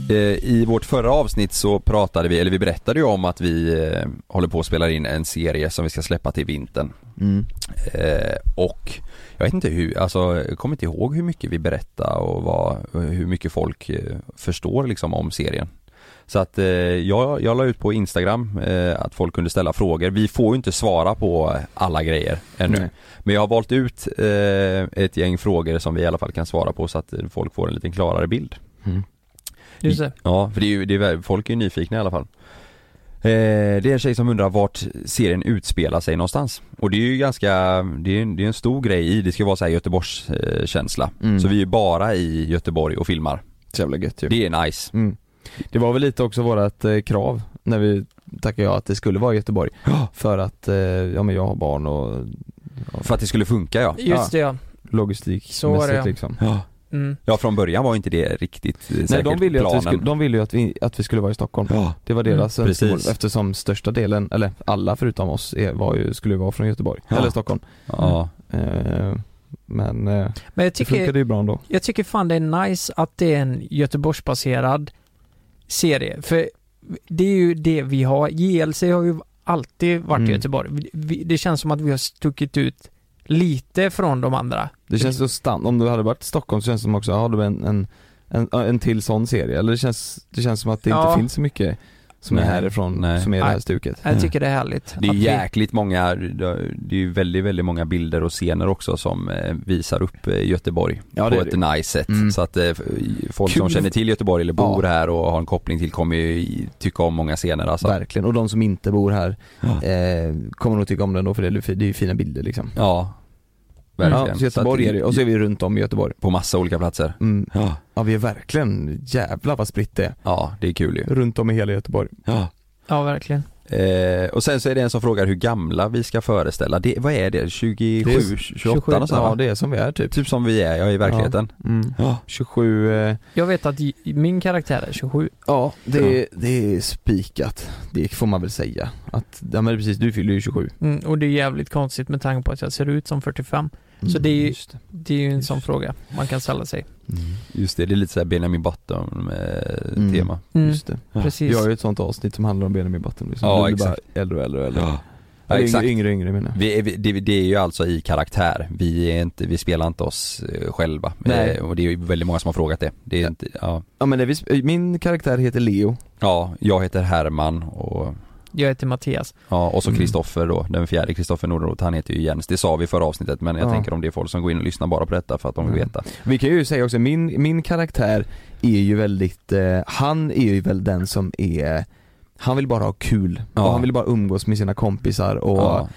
Eh, I vårt förra avsnitt så pratade vi, eller vi berättade ju om att vi eh, håller på att spela in en serie som vi ska släppa till vintern.
Mm.
Eh, och jag vet inte hur, alltså jag kommer inte ihåg hur mycket vi berättade och vad, hur mycket folk eh, förstår liksom om serien. Så att eh, jag, jag la ut på Instagram eh, att folk kunde ställa frågor. Vi får ju inte svara på alla grejer ännu.
Nej.
Men jag har valt ut eh, ett gäng frågor som vi i alla fall kan svara på så att eh, folk får en lite klarare bild.
Mm.
Just det.
Ja, för det är ju, det är, folk är ju nyfikna i alla fall. Eh, det är en tjej som undrar vart serien utspelar sig någonstans. Och det är ju ganska, det är, en- det är en stor grej i, det ska vara så här Göteborgskänsla. Eh, känsla.
Mm.
Så vi är ju bara i Göteborg och filmar.
Så jävla gött ju.
Det är nice.
Mm. Det var väl lite också vårat eh, krav när vi tackade ja att det skulle vara i Göteborg. För att, eh, ja men jag har barn och
För att det skulle funka ja.
Just det ja. Så var det, ja.
logistikmässigt liksom.
Ja,
Mm.
ja från början var inte det riktigt eh,
Nej
säkert
de ville ju att vi
planen.
skulle, de ville ju att vi, att vi skulle vara i Stockholm.
Ja.
Det var deras
Mm,
önskemål
precis.
eftersom största delen, eller alla förutom oss, är, var ju, skulle ju vara från Göteborg.
Ja.
Eller Stockholm.
Ja.
Eh, men eh,
Men jag
det
tycker,
funkade ju bra ändå.
jag tycker fan det är nice att det är en Göteborgsbaserad serie. För det är ju det vi har. JLC har ju alltid varit
Mm.
i Göteborg. Vi- Vi, det känns som att vi har stuckit ut lite från de andra.
Det känns så stant, om du hade varit i Stockholm så känns det som också, har du en, en, en, en till sån serie? Eller det känns, det känns som att det
Ja.
inte finns så mycket som
Nej.
är härifrån,
Nej.
som är det här
Nej.
stuket.
Jag tycker det är härligt.
Det är
att vi-
jäkligt många, det är ju väldigt, väldigt många bilder och scener också som eh, visar upp eh, Göteborg
Ja,
på
det är
ett
det.
nice sätt.
Mm.
Så att eh, f- folk som
Kul.
känner till Göteborg eller bor
Ja.
här och har en koppling till kommer ju i- tycka om många scener alltså.
Verkligen, och de som inte bor här
Ja.
eh, kommer nog tycka om den då för det är, det är ju fina bilder liksom.
Ja, verkligen.
Ja, så Göteborg
att-
är det, och så är vi runt om i Göteborg.
På massa olika platser.
Mm.
Ja.
Ja vi är verkligen, jävlar vad spritt det är.
Ja, det är kul ju.
Runt om i hela Göteborg.
Ja.
Ja, verkligen.
Eh, och sen så är det en som frågar hur gamla vi ska föreställa. Det, vad är det? 27,
Det är-
28 någonstans,
Ja
va?
det är som vi är typ.
Typ som vi är, ja i verkligheten.
Mm. 27, eh,
Jag vet att j- min karaktär är 27.
ja det, det är spikat. Det får man väl säga. Att, ja men precis, du fyller ju 27.
Mm, och det är jävligt konstigt med tanke på att jag ser ut som 45. Så det är ju-
Mm, Just det.
Det är ju en
Just.
sån fråga man kan ställa sig.
Just det, det är lite såhär Benjamin eh, Button-tema.
Mm.
Mm,
Just det.
Ja,
Precis.
Vi har ju ett sånt avsnitt som handlar om Benjamin Button liksom.
Ja,
Du blir
exakt.
Bara äldre och äldre och äldre.
Ja,
Eller
exakt.
Yngre, yngre, yngre menar jag.
Vi är, vi- det, det är ju alltså i karaktär, vi, är inte, vi spelar inte oss eh, själva.
Nej.
Eh, Och det är ju väldigt många som har frågat det. det är
Ja.
inte, ja.
Ja men det är vi, min karaktär heter Leo.
ja, jag heter Herman och,
Jag heter Mattias.
ja, och så
Mm.
Kristoffer då, den fjärde Kristoffer Nordenroth, han heter ju Jens. Det sa vi i förra avsnittet men jag
Ja.
tänker om det är folk som går in och lyssnar bara på detta för att de vill
Mm.
veta.
Vi kan ju säga också, min, min karaktär är ju väldigt, eh, han är ju väl den som är han vill bara ha kul
Ja.
och han vill bara umgås med sina kompisar och
Ja,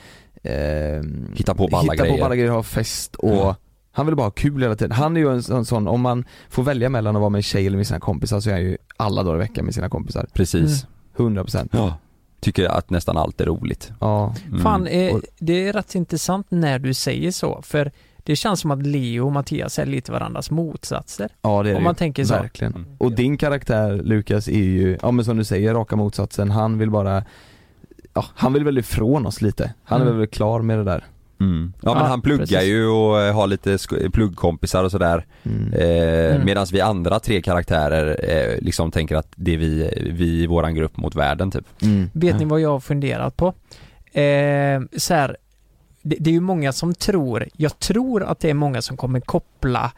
ehm,
hitta på balla
hitta
grejer.
på alla grejer, ha fest och
Ja.
Han vill bara ha kul hela tiden. Han är ju en sån, sån, om man får välja mellan att vara med en tjej eller med sina kompisar så är han ju alla dagar i veckan med sina kompisar.
Precis.
Mm. 100%.
Ja. Tycker att nästan allt är roligt.
Ja.
Mm.
Fan, eh,
Och-
det är rätt intressant när du säger så, för det känns som att Leo och Mattias är lite varandras motsatser.
Ja det är det
Om man
ju.
tänker så.
Verkligen.
Mm.
Och din karaktär Lukas är ju, ja men som du säger, raka motsatsen. Han vill bara, ja han vill väl ifrån oss lite. Han är
Mm.
väl klar med det där.
Mm. Ja, men
Ja,
han pluggar
precis.
ju och eh, har lite sk- pluggkompisar och sådär.
Mm.
Eh,
Mm.
Medan vi andra tre karaktärer eh, liksom tänker att det är vi, vi i våran grupp mot världen typ.
Mm.
Vet ni vad jag har funderat på? Eh, så här, det, det är ju många som tror, jag tror att det är många som kommer koppla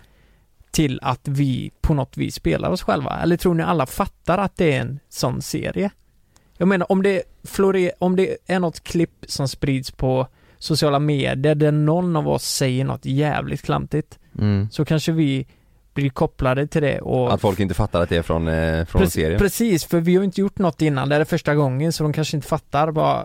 till att vi på något vis spelar oss själva. Eller tror ni alla fattar att det är en sån serie? Jag menar om det, flore, om det är något klipp som sprids på sociala medier där någon av oss säger något jävligt klantigt
Mm.
så kanske vi blir kopplade till det och
Att folk inte fattar att det är från, eh, från
Prec-
serien.
Precis, för vi har ju inte gjort något innan. Det här är första gången så de kanske inte fattar vad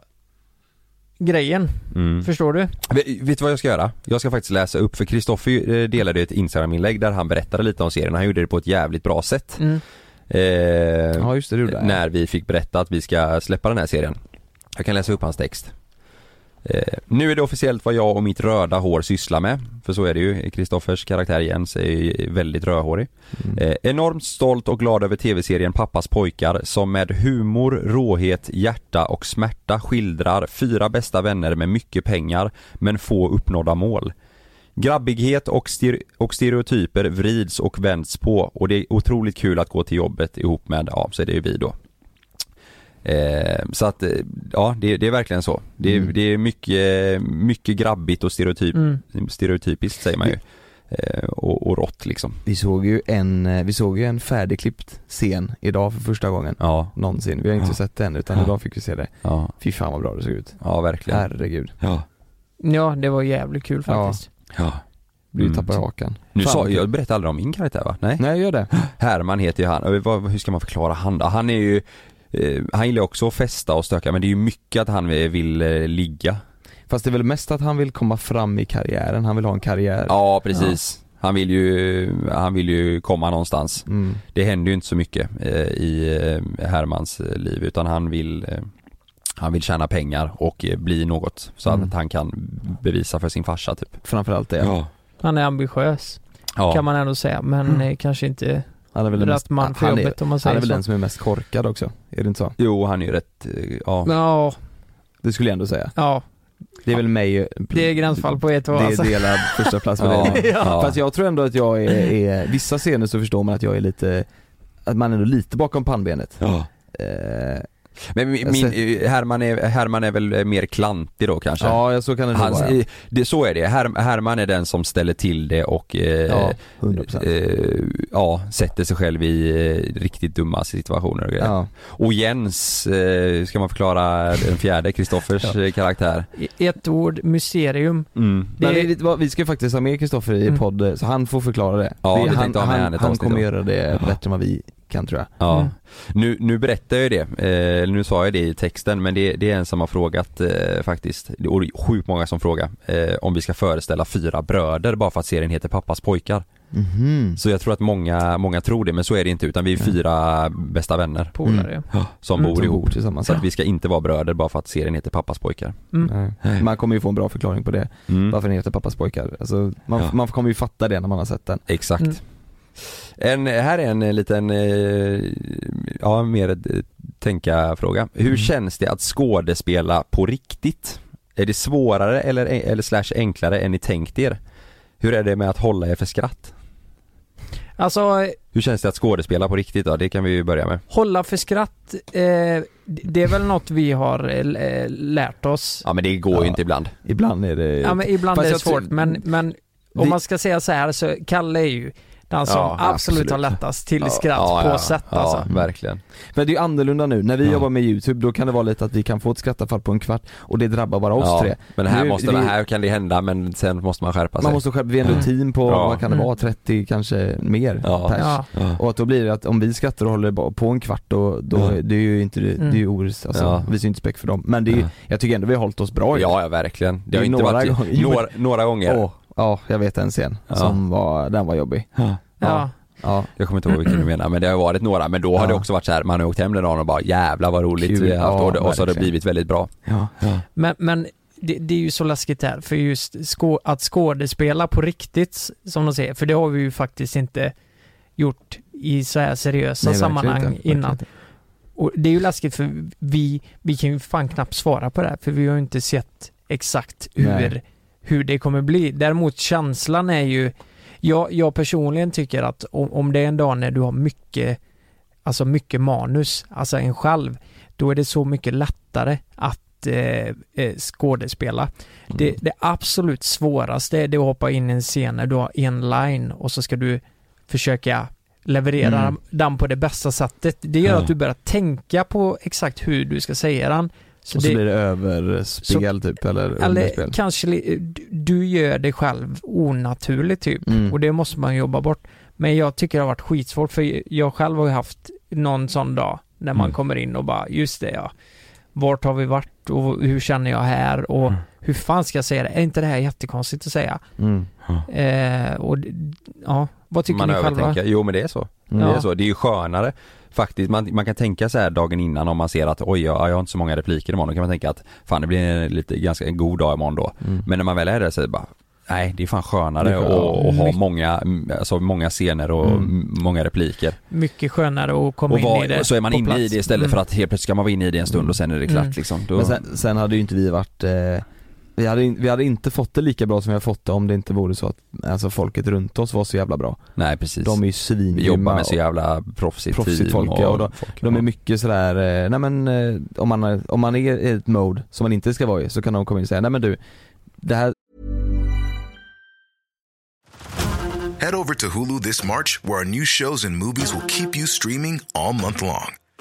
grejen.
Mm.
Förstår du?
Vet vet du vad jag ska göra? Jag ska faktiskt läsa upp, för Kristoffer eh, delade ett Instagram-inlägg där han berättade lite om serien. Han gjorde det på ett jävligt bra sätt.
Mm.
Eh,
Ja just det, du där.
när vi fick berätta att vi ska släppa den här serien. Jag kan läsa upp hans text. Eh, nu är det officiellt vad jag och mitt röda hår sysslar med. För så är det ju, Kristoffers karaktär Jens är ju väldigt rödhårig.
Mm.
Eh, enormt stolt och glad över tv-serien Pappas pojkar som med humor, råhet, hjärta och smärta skildrar fyra bästa vänner med mycket pengar men få uppnådda mål. Grabbighet och, ster- och stereotyper vrids och vänds på och det är otroligt kul att gå till jobbet ihop med, ja, så är det ju vi då. Eh, så att, eh, ja, det, det är verkligen så. Det, är-
Mm.
det är mycket, mycket grabbigt och stereotyp,
Mm.
stereotypiskt säger man ju. Eh, och, och rått liksom.
Vi såg ju en, eh, vi såg ju en färdigklippt scen idag för första gången
Ja,
någonsin. Vi har inte
Ja.
sett den utan
Ja.
idag fick vi se det.
ja,
Fy fan vad bra det såg ut.
ja verkligen.
Herregud.
Ja,
Ja, det var jävligt kul
Ja.
faktiskt.
ja.
Blir
Mm.
tappad i hakan.
Nu
Fan,
sa,
vad kul.
jag berättade aldrig om min karaktär va? Nej?
Nej gör det.
Herman heter ju han, Och vad, hur ska man förklara han då? Han är ju eh, han gillar också att festa och stöka men det är ju mycket att han vill eh, ligga
Fast det är väl mest att han vill komma fram i karriären. Han vill ha en karriär.
Ja precis Han vill ju, han vill ju komma någonstans
Mm.
Det händer ju inte så mycket eh, i eh, Hermans eh, liv utan han vill eh, Han vill tjäna pengar och eh, bli något så
Mm.
att han kan bevisa för sin farsa typ
Framförallt det.
Han är ambitiös,
Ja,
kan man ändå säga, men eh, kanske inte
Mm. Han är väl den
rätt
mest,
man för
han är-
jobbet om man
han är
säger
väl
så.
den som är mest korkad också. Är det inte så?
Jo han är ju rätt, eh, ja
Ja,
Det skulle jag ändå säga.
ja,
Det är väl mig
det är gränsfall på ett och
Det är
alltså.
delad första plats med
Ja.
dig.
Alltså, Ja.
Fast jag tror ändå att jag är, är, vissa scener så förstår man att jag är lite, att man är ändå lite bakom pannbenet.
Ja.
Eh,
Men min,
Jag
min, eh, Herman, är, Herman är väl eh, mer klantig då kanske?
ja, jag så kan det nog
Han,
vara.
eh, det, så är det, Her, Herman är den som ställer till det och eh,
Ja, 100%.
eh, ja, sätter sig själv i eh, riktigt dumma situationer och, grejer.
Ja.
och Jens, eh, ska man förklara den fjärde, Kristoffers eh, karaktär?
Ett ord, mysterium.
Mm.
Men
Det-
vi, vi- vi ska faktiskt ha med Kristoffer i
Mm.
podd, eh, så han får förklara det.
Ja,
det
vi
han,
tänkte ha med han
han,
i ett
han
avsnitt
kommer
då.
göra det bättre än vad vi kan tror jag.
Ja.
Mm.
Nu, nu berättar jag ju det, eh, nu sa jag det i texten men det, det är en som har frågat eh, faktiskt, Det- och det är sjukt många som frågar, eh, om vi ska föreställa fyra bröder bara för att serien heter Pappas
Mm.
pojkar. Så jag tror att många, många tror det men så är det inte utan vi är fyra bästa vänner
Polare.
som
Mm.
bor
Som
ihop.
bor tillsammans.
Så att vi ska inte vara bröder bara för att serien heter Pappas pojkar.
Nej. Eh, Man kommer ju få en bra förklaring på det,
Mm.
varför den heter Pappas pojkar. Alltså, man,
Ja.
man kommer ju fatta det när man har sett den.
Exakt.
Mm.
En, här är en eh, liten, eh, ja mer ett, eh, tänka-fråga. Hur
Mm.
känns det att skådespela på riktigt? Är det svårare eller, eh, eller slash enklare än ni tänkt er? Hur är det med att hålla er för skratt?
Alltså,
Hur känns det att skådespela på riktigt då? Det kan vi ju börja med.
hålla för skratt, eh, det är väl något vi har eh, lärt oss.
Ja men det går ju
Ja.
inte ibland.
Ibland är det...
Ja, men ibland
Eh, Fast
är det
jag tror-
svårt, men, men om
Det-
man ska säga så här så Kalle är ju den som
Ja,
absolut,
absolut.
har lättast till
Ja,
skratt
ja,
på
ja,
sätt
ja,
alltså.
verkligen.
Men det är ju annorlunda nu, när vi
Ja.
jobbar med YouTube då kan det vara lite att vi kan få ett skrattafall på en kvart och det drabbar bara oss
ja.
tre.
Men här,
Nu-
måste,
vi-
här kan det hända men sen måste man skärpa sig.
Man måste själv, vi är ändå ett team på,
Ja.
vad kan det
Mm.
vara, 30 kanske mer
Ja.
pers.
Ja.
Och att då blir det att om vi skrattar och håller bara på en kvart då, då
Ja.
det är ju inte, det är ju
Mm.
oris, alltså,
Mm. Ja.
visar ju inte spec för dem. Men det är ju,
Ja.
jag tycker ändå vi har hållit oss bra i det.
Ja, ja verkligen. Det har
Det är
inte
några
varit,
gånger. Jo, men-
några, några gånger.
Åh, ja, jag vet en scen
Ja.
som var, den var jobbig.
Ja.
Ja.
Jag kommer inte ihåg vilken du menar men det har varit några men då har
Ja.
det också varit så här man har åkt hem den dagen och bara jävlar vad roligt
Kul,
vi har haft
ja,
och, det- och så har det
verkligen.
blivit väldigt bra.
Ja.
Men, men det, det är ju så läskigt där, för just skå- att skådespela på riktigt, som de säger, för det har vi ju faktiskt inte gjort i så här seriösa
Nej,
sammanhang
verkligen inte,
innan.
verkligen inte.
Och det är ju läskigt för vi, vi kan ju fan knappt svara på det här, för vi har ju inte sett exakt hur,
Nej.
hur det kommer bli. Däremot känslan är ju, jag, jag personligen tycker att om, om det är en dag när du har mycket, alltså mycket manus, alltså en själv, då är det så mycket lättare att eh, eh, skådespela.
Mm.
Det, det absolut svåraste är det att hoppa in i en scen när du har en line och så ska du försöka leverera
Mm.
den på det bästa sättet. Det gör
Ja.
att du börjar tänka på exakt hur du ska säga den. Så
Och så
det,
blir det överspel typ, eller,
eller
underspel.
kanske li- du- du gör det själv onaturligt typ.
Mm.
Och det måste man jobba bort. Men jag tycker det har varit skitsvårt för jag själv har ju haft någon sån dag när man
Mm.
kommer in och bara, just det ja. Vart har vi varit och hur känner jag här och
Mm.
hur fan ska jag säga det? Är inte det här jättekonstigt att säga?
Mm.
Eh, och d- ja, vad tycker
man
ni själva?
Jo men det är så.
Mm.
Det är
Ja.
så. Det är ju skönare faktiskt. Man, man kan tänka så här dagen innan om man ser att oj jag, jag har inte så många repliker imorgon. Då kan man tänka att fan det blir en lite, ganska en god dag imorgon då.
Mm.
Men när man väl är där så är det bara Nej det är fan
Det
skönare
är
att
skönt.
och, ha
Mycket-
många, alltså många scener och
Mm.
m- många repliker.
Mycket skönare att komma
Och,
in
vad-
i det
och så är man
på
inne i
plats.
det istället
Mm.
för att helt plötsligt ska man vara inne i det en stund och sen är det klart
Mm.
liksom. Då,
Men sen, sen hade ju inte vi varit eh, vi hade, in- vi hade inte fått det lika bra som vi har fått det om det inte vore så att alltså, folket runt oss var så jävla bra.
Nej precis.
De är ju
vi
svingrymma.
jobbar med
och-
så jävla proffsigt,
Proffsigt
team
folk, ja, och de-
folk,
De
ja.
är mycket sådär, eh, nej men eh, om man, är- om man är i ett mode som man inte ska vara i så kan de komma in och säga nej men du, det här
Head over to Hulu this March, where our new shows and movies will keep you streaming all month long.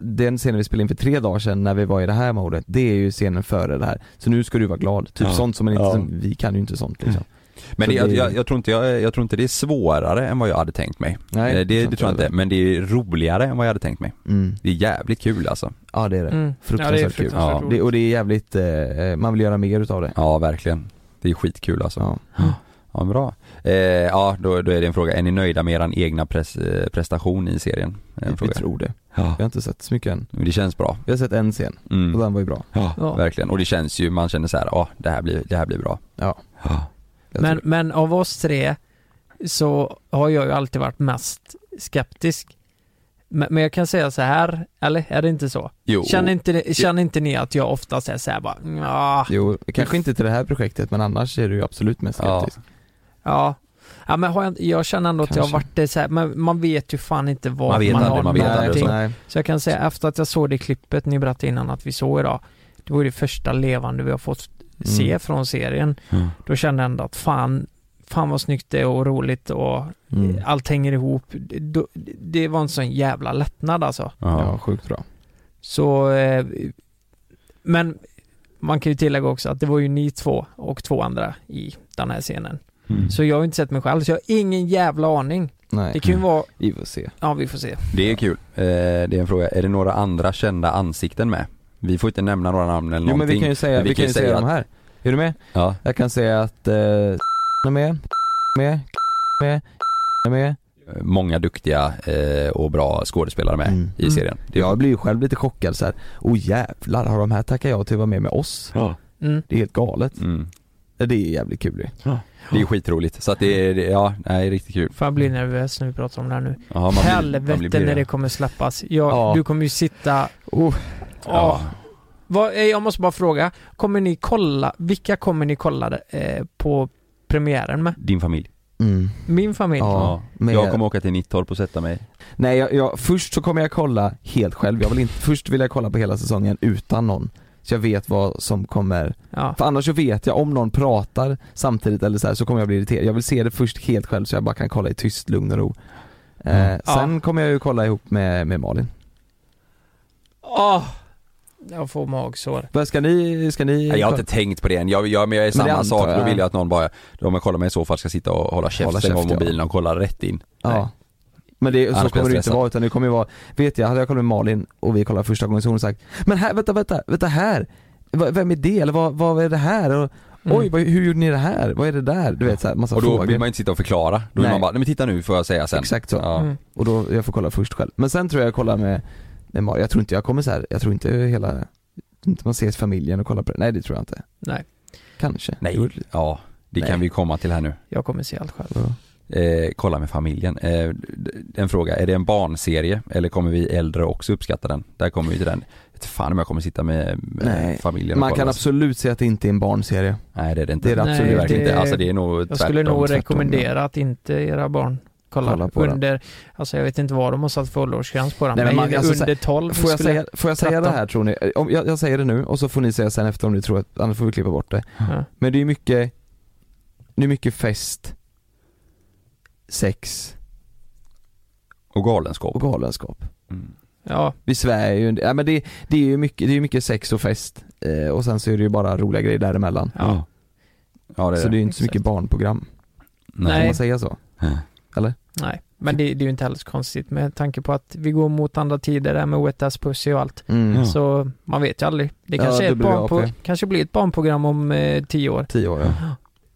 den scenen vi spelade in för tre dagar sedan när vi var i det här modet, det är ju scenen före det här. Så nu ska du vara glad. Typ
Ja.
sånt som man inte,
Ja.
som, vi kan ju inte sånt liksom.
Men
Så
det, jag,
det-
jag, jag, tror inte, jag, jag tror inte det är svårare än vad jag hade tänkt mig.
Nej,
Eh, det, det
sant
tror jag inte,
heller.
men det är roligare än vad jag hade tänkt mig.
Mm.
Det är jävligt kul alltså.
Ja det är det.
Mm.
Fruktansvärt
Ja, det är
kul.
fruktansvärt
Ja.
roligt.
Det, och det är jävligt, eh, man vill göra mer utav det.
Ja, verkligen. Det är skitkul alltså.
Ja.
Ja, bra. Eh, ja, då, då är det en fråga. Är ni nöjda med eran egna pres, eh, prestation i serien? En
Vi
fråga.
tror det.
Ja,
Vi har inte sett så mycket än.
men det känns bra.
Vi har sett en scen, och
Mm.
den var ju bra.
Ja,
Ja.
verkligen. Och det känns ju, man känner så här, ja, det här blir, det här blir bra.
Ja.
Ja.
Jag
Men,
tror
men av oss tre så har jag ju alltid varit mest skeptisk. Men, men jag kan säga så här, eller är det inte så?
Jo.
Känner inte, känner inte ni att jag oftast är så här bara, ja,
det. Jo, kanske inte till det här projektet men annars är du ju absolut mest
Ja.
skeptisk.
ja. Ja men har jag, jag känner ändå att jag har
Kanske.
varit det så här, men man vet ju fan inte vad
Man
man,
vet aldrig,
har
man vet
någonting.
aldrig så.
nej.
Så jag kan säga efter att jag såg det klippet ni berättade innan att vi såg idag, det var ju det första levande vi har fått se
Mm.
från serien.
Mm.
Då kände jag ändå att fan, fan vad snyggt det är och roligt och
Mm.
allt hänger ihop. Det, då- det var en sån jävla lättnad alltså.
Ja,
Ja.
sjukt bra.
Så, eh, men man kan ju tillägga också att det var ju ni två och två andra i den här scenen.
Mm.
Så jag har ju inte sett mig själv, så jag har ingen jävla aning.
Nej.
Det kan ju vara,
Vi får se.
ja vi får se.
Det är kul. Eh, det är en fråga. Är det några andra kända ansikten med? Vi får inte nämna några namn eller
Jo men
någonting.
vi kan ju säga,
Men
vi kan ju säga
att-
de här. Är du med?
Ja.
Jag kan säga att eh, är med, med, med, med.
många duktiga eh, och bra skådespelare med
Mm.
i serien. Det,
Jag blir ju själv lite chockad så här. oh jävlar har de här tackat ja till att vara med med oss?
Mm.
Det är helt galet. Eh,
mm,
Det är jävligt kul ju.
det är skitroligt. Så att det är, det- ja, nej, det är riktigt kul.
För jag blir nervös när vi pratar om det här nu.
Ja, man blir-
Helvete
man blir
när
pirrig.
det kommer släppas. Jag,
Ja.
Du kommer ju sitta...
Oh.
Ja. Vad, eh, jag måste bara fråga, kommer ni kolla, vilka kommer ni kolla eh, på premiären med?
Din familj.
Mm.
Min familj?
Ja. Men
Jag kommer åka till Nittorp och sätta mig.
Nej, jag, jag, först så kommer jag kolla helt själv. Jag vill inte, först vill jag kolla på hela säsongen utan någon. Så jag vet vad som kommer.
Ja.
För annars så vet jag om någon pratar samtidigt eller så här, så kommer jag bli irriterad. Jag vill se det först helt själv så jag bara kan kolla i tyst, lugn och ro. Eh, sen kommer jag ju kolla ihop med, med Malin.
Åh! Jag får magsår.
Vad Ska ni, ska ni?
Nej, jag har inte tänkt på det än. Jag, jag, men jag är samma
antar
sak. Då
jag.
vill jag att någon bara, om jag kollar mig i så fall ska sitta och hålla
Hålla
käften
käft,
av
ja.
mobilen och kolla rätt in. Nej.
Ja. Men det, så
Annars blir jag
kommer det inte
stressad.
vara utan det kommer ju vara, vet jag, hade jag kollat med Malin och vi kollade första gången så hade hon sagt Men här, vänta, vänta, vänta här! Va- Vem är det? Eller vad, vad är det här? Och,
Mm.
Oj, vad, hur gjorde ni det här? Vad är det där? Du vet så här, massa
Och då
frågor.
vill man inte sitta och förklara. Då vill
Nej.
man bara, nej men titta nu får jag säga sen.
Exakt så.
Ja.
Mm.
Och då, jag får kolla först själv. Men sen tror jag jag kollar med, med Malin, jag tror inte jag kommer så här, jag tror inte hela, inte man ses familjen och kollar på det. Nej det tror jag inte.
Nej,
Kanske.
Nej,
Det vore-
ja det
Nej.
kan vi komma till här nu.
jag kommer se allt själv.
Ja.
Eh, kolla med familjen. Eh, d- en fråga, är det en barnserie eller kommer vi äldre också uppskatta den? Där kommer vi till den. Jag vet fan om jag kommer sitta med, med
Nej.
familjen och
Man
kolla.
kan absolut säga att det inte är en barnserie.
Nej det är det inte.
Det är det
Nej,
absolut
det är verkligen
det-
inte. Alltså det är nog
Jag skulle
tvärtom.
nog
tvärtom,
rekommendera att inte era barn kollar
Kolla på den.
under, alltså jag vet inte vad de har satt för åldersgräns på den,
Nej,
men,
men man- alltså,
under 12
Får jag,
skulle
säga, får jag säga det
13?
här tror ni? Eh, Om, jag, jag säger det nu och så får ni säga sen efter om ni tror att, annars får vi klippa bort det.
Ja.
Men det är ju mycket, det är mycket fest, sex
Och galenskap.
och galenskap.
Mm.
Ja,
Vi svär ju, ja, men det, det är ju mycket, det är ju mycket sex och fest eh, och sen så är det ju bara roliga grejer däremellan.
ja.
Ja det är
Så det är
det.
ju inte så mycket
Exakt.
barnprogram, får
Nej.
man säga så?
Nej, men det, det är ju inte heller så konstigt med tanke på att vi går mot andra tider där med wet ass pussy och allt.
Mm.
Ja.
Så man vet ju aldrig. Det
Ja,
kanske, är ett
WAP.
barnpro- kanske blir ett barnprogram om eh, tio år.
Tio år ja.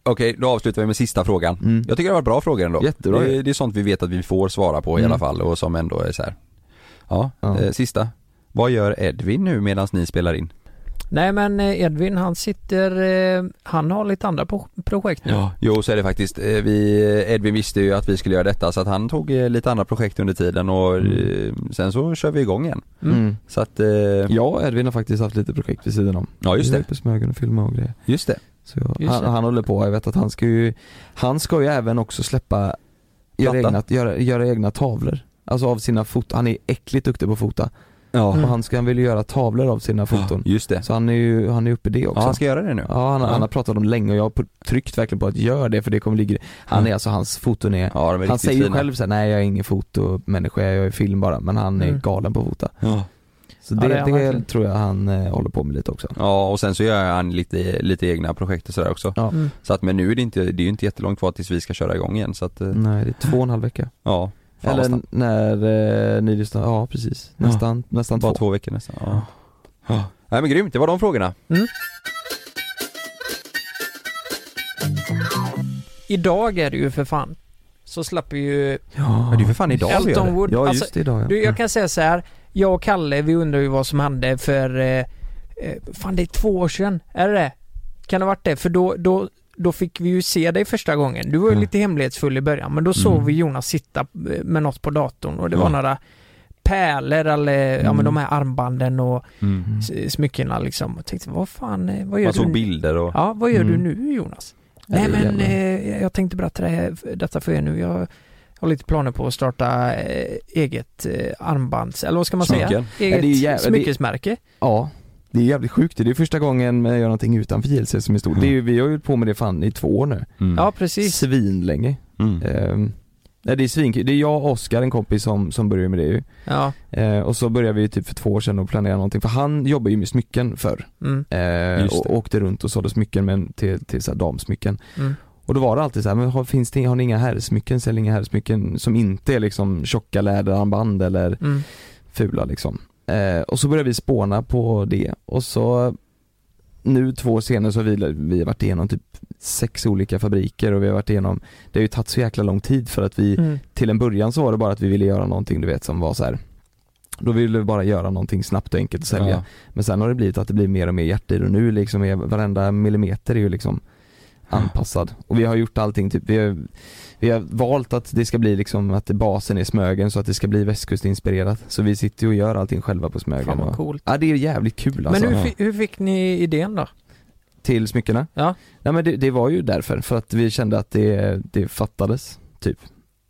Okej, då avslutar vi med sista frågan.
Mm.
Jag tycker det var bra frågor ändå.
Jättebra
Det,
ju.
är- det är sånt vi vet att vi får svara på i
Mm.
alla fall och som ändå är så här. Ja,
Ja.
Eh, sista. Vad gör Edvin nu medan ni spelar in?
Nej men eh, Edvin han sitter, eh, han har lite andra pro- projekt nu.
Jo, så är det faktiskt. Eh, Vi, Edvin visste ju att vi skulle göra detta så att han tog eh, lite andra projekt under tiden och eh, sen så kör vi igång igen.
Mm.
Så att, eh,
Jag och Edvin har faktiskt haft lite projekt vid sidan om.
ja just
Vi
det.
hjälper Smögen och filma och grejer.
Just det.
Så jag,
Just
han,
det.
han håller på, jag vet att han ska ju, han ska ju även också släppa, göra
Platta.
egna, göra, göra egna tavlor. Alltså av sina foton, han är äckligt duktig på att fota.
Ja,
Och han, ska, han vill ju göra tavlor av sina foton.
just det.
Så han är ju, han är uppe i det också.
Ja, han ska göra det nu.
Ja han, har-
Ja.
han har pratat om länge och jag har på- tryckt verkligen på att göra det för det kommer ligga Han är alltså, hans foton är
Ja, de är
Han
riktigt
säger ju
fina.
själv såhär, nej jag är ingen fotomänniska, jag är film bara, men han är
Mm.
galen på att fota.
Ja.
Så
Ja,
det,
det är han
det,
verkligen.
tror jag han eh, håller på med lite också.
ja, och sen så gör han lite, lite egna projekt och sådär också.
Ja.
Mm.
Så att, men nu är det inte, det är ju inte jättelångt kvar tills vi ska köra igång igen så att, eh,
Nej, det är två och en halv vecka.
ja. Fan, vad
Mm. Eller
snabbt.
när eh, ni lyssnar, ja precis.
Ja.
Nästan, nästan
Bara
två.
två veckor nästan. Ja. Ja. Nej men grymt, det var de frågorna.
Idag är det ju för fan. Så slapp vi ju
Ja,
Men det är för fan idag vi gör
Elton
det.
Wood.
Ja
Alltså,
just det, idag ja.
Du, jag kan säga så här. Jag och Kalle, vi undrar ju vad som hände för... Eh, eh, fan, det är två år sedan. Är det det Kan det ha varit det? För då, då, då fick vi ju se dig första gången. Du var ju
Ja.
lite hemlighetsfull i början, men då såg vi Jonas sitta eh, med något på datorn och det var
Ja.
några pärlor eller ja, men
Mm.
de här armbanden och
Mm.
s- smyckena liksom. Och tänkte, vad fan, eh, vad gör
Man
du
såg
nu?
bilder och,
Ja, vad gör
Mm.
du nu Jonas?
Ja,
Nej
det är
men
jävla-
eh, jag tänkte berätta det här, detta för er nu. Jag har lite planer på att starta eh, eget eh, armbands, eller vad ska man säga?
smycken.
Ja,
Eget
det är ju jävla- det-
smyckesmärke.
Ja, det är jävligt sjukt. Det är första gången jag gör någonting utanför JLC som är stort.
Ja.
Det är ju, vi har ju hållit på med det fan i två år nu.
Mm.
Ja, precis.
Svinlänge.
Mm.
Ehm, nej det är svinkul. Det är jag och Oskar, en kompis som, som börjar med det ju.
Ja,
Eh, och så började vi typ för två år sedan att planera någonting, för han jobbar ju med smycken förr.
mm,
Eh,
Just
och
det.
åkte runt och sålde smycken men till, till så här damsmycken.
mm.
Och då var det alltid så här, men har, finns det, har ni inga herrsmycken, säljer inga herrsmycken som inte är liksom tjocka läderarmband eller
Mm.
fula liksom. Eh, och så började vi spåna på det och så nu två år senare så har vi, vi har varit igenom typ sex olika fabriker och vi har varit igenom, det har ju tagit så jäkla lång tid för att vi
Mm.
till en början så var det bara att vi ville göra någonting du vet som var så här. Då ville vi bara göra någonting snabbt och enkelt att sälja.
Ja.
Men sen har det blivit att det blir mer och mer hjärtdyror nu liksom, är- varenda millimeter är ju liksom anpassad. Och vi har gjort allting, typ, vi, har, vi har valt att det ska bli liksom att basen är Smögen så att det ska bli västkustinspirerat. Så vi sitter ju och gör allting själva på
Fan
Smögen.
vad
Och,
coolt.
ja det är jävligt kul
Men
alltså.
hur,
ja.
fi- hur fick ni idén då?
Till smyckena?
Ja.
Nej men det, det var ju därför, för att vi kände att det, det fattades, typ.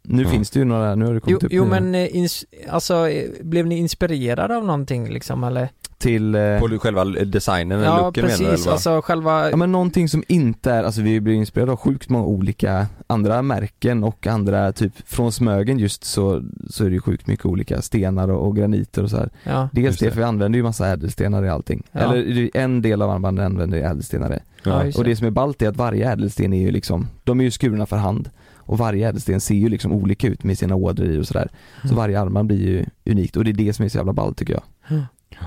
Nu
Ja.
finns det ju några, nu har det
Jo,
kommit upp
jo
nya.
men eh, ins- alltså, eh, blev ni inspirerade av någonting liksom eller?
till eh,
På själva designen, eller
Ja,
looken menar du? eller
precis.
vad?
Alltså själva...
Ja men någonting som inte är, alltså vi blir inspirerade av sjukt många olika andra märken och andra typ från Smögen just så, så är det ju sjukt mycket olika stenar och, och graniter och så här.
Ja.
Dels
Just
det,
det.
för vi använder ju massa ädelstenar i allting.
Ja.
Eller det är en del av armbanden använder ju ädelstenar i.
Ja,
Ja.
just
Och det som är ballt är att varje ädelsten är ju liksom, de är ju skurna för hand. Och varje ädelsten ser ju liksom olika ut med sina ådror i och sådär. Så
Mm.
varje armband blir ju unikt och det är det som är så jävla ballt tycker jag.
Mm.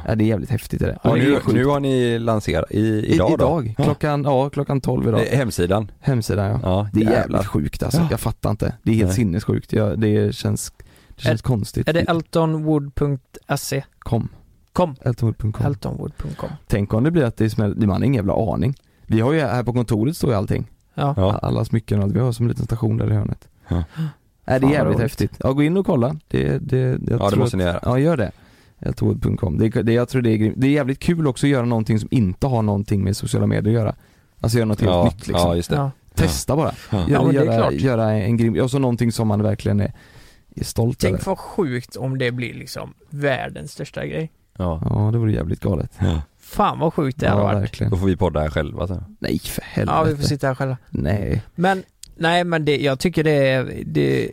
Ja, det är jävligt häftigt är det.
Och
det är
nu,
sjukt.
nu har ni lanserat, i,
I-
idag,
idag.
då?
Klockan, ja klockan 12 idag.
Ja. Eh, Hemsidan.
Hemsidan ja.
Ja,
Det är
jävlar.
jävligt sjukt alltså,
Ja.
jag fattar inte. Det är helt
Nej.
sinnessjukt. Jag, det känns, det känns konstigt. Typ,
Är det eltonwood.se?
Kom.
Kom.
Eltonwood.com.
Eltonwood.com.
Tänk om det blir att det smäller, man har ingen jävla aning. Vi har ju, här på kontoret står ju allting.
Ja.
Ja.
Alla smycken och allt. Vi har som en liten station där i hörnet.
Ja.
Nej, det
vad
är jävligt
roligt.
häftigt. Ja, gå in och kolla. Det, det, jag
Ja, det
tror
måste ni göra.
att, Ja, gör det. Eltonwood.com. Det, det, jag tror det är grymt. Det är jävligt kul också att göra någonting som inte har någonting med sociala medier att göra. Alltså göra något helt
Ja,
nytt liksom.
ja, just det.
Ja.
Testa bara.
Ja.
Gör,
Ja, men det är
göra,
klart.
göra en grym, och så någonting som man verkligen är, är stolt
Tänk
över.
vad sjukt om det blir liksom världens största grej.
Ja.
Ja det vore jävligt galet.
Fan vad sjukt det hade
ja,
varit.
verkligen.
Då får vi podda här själva sen.
Nej för helvete.
Ja, vi får sitta här själva.
Nej.
Men, nej men det, jag tycker det är, det,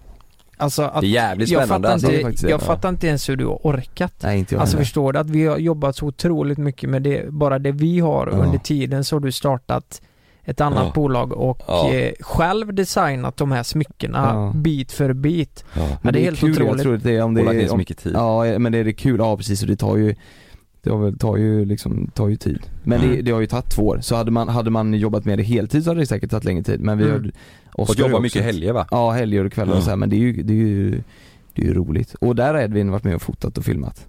alltså att
Det är jävligt
jag
spännande
fattar,
alltså.
Det är
inte,
faktiskt det,
jag
ja.
fattar inte ens hur du har orkat.
Nej inte jag
Alltså
heller.
förstår du att vi har jobbat så otroligt mycket med det, bara det vi har
Ja.
under tiden så har du startat ett annat
Ja.
bolag och
Ja.
eh, själv designat de här smyckena
Ja.
bit för bit.
Ja.
Ja, det är helt
kul,
otroligt.
Jag tror att det är om
Och lagt
det
ner
är,
så
om,
mycket tid.
ja men det är det kul, ja precis och det tar ju Det har väl, tar ju liksom, tar ju tid. Men det,
Mm.
det har ju tagit två år. Så hade man, hade man jobbat med det heltid så hade det säkert tagit längre tid. Men vi
Mm.
har
Och
Oscar har
jobba
också-
mycket helger va?
Ja, helger och kvällar och
Ja.
så här, men det är ju, det är ju det är ju roligt. Och där har Edvin varit med och fotat och filmat.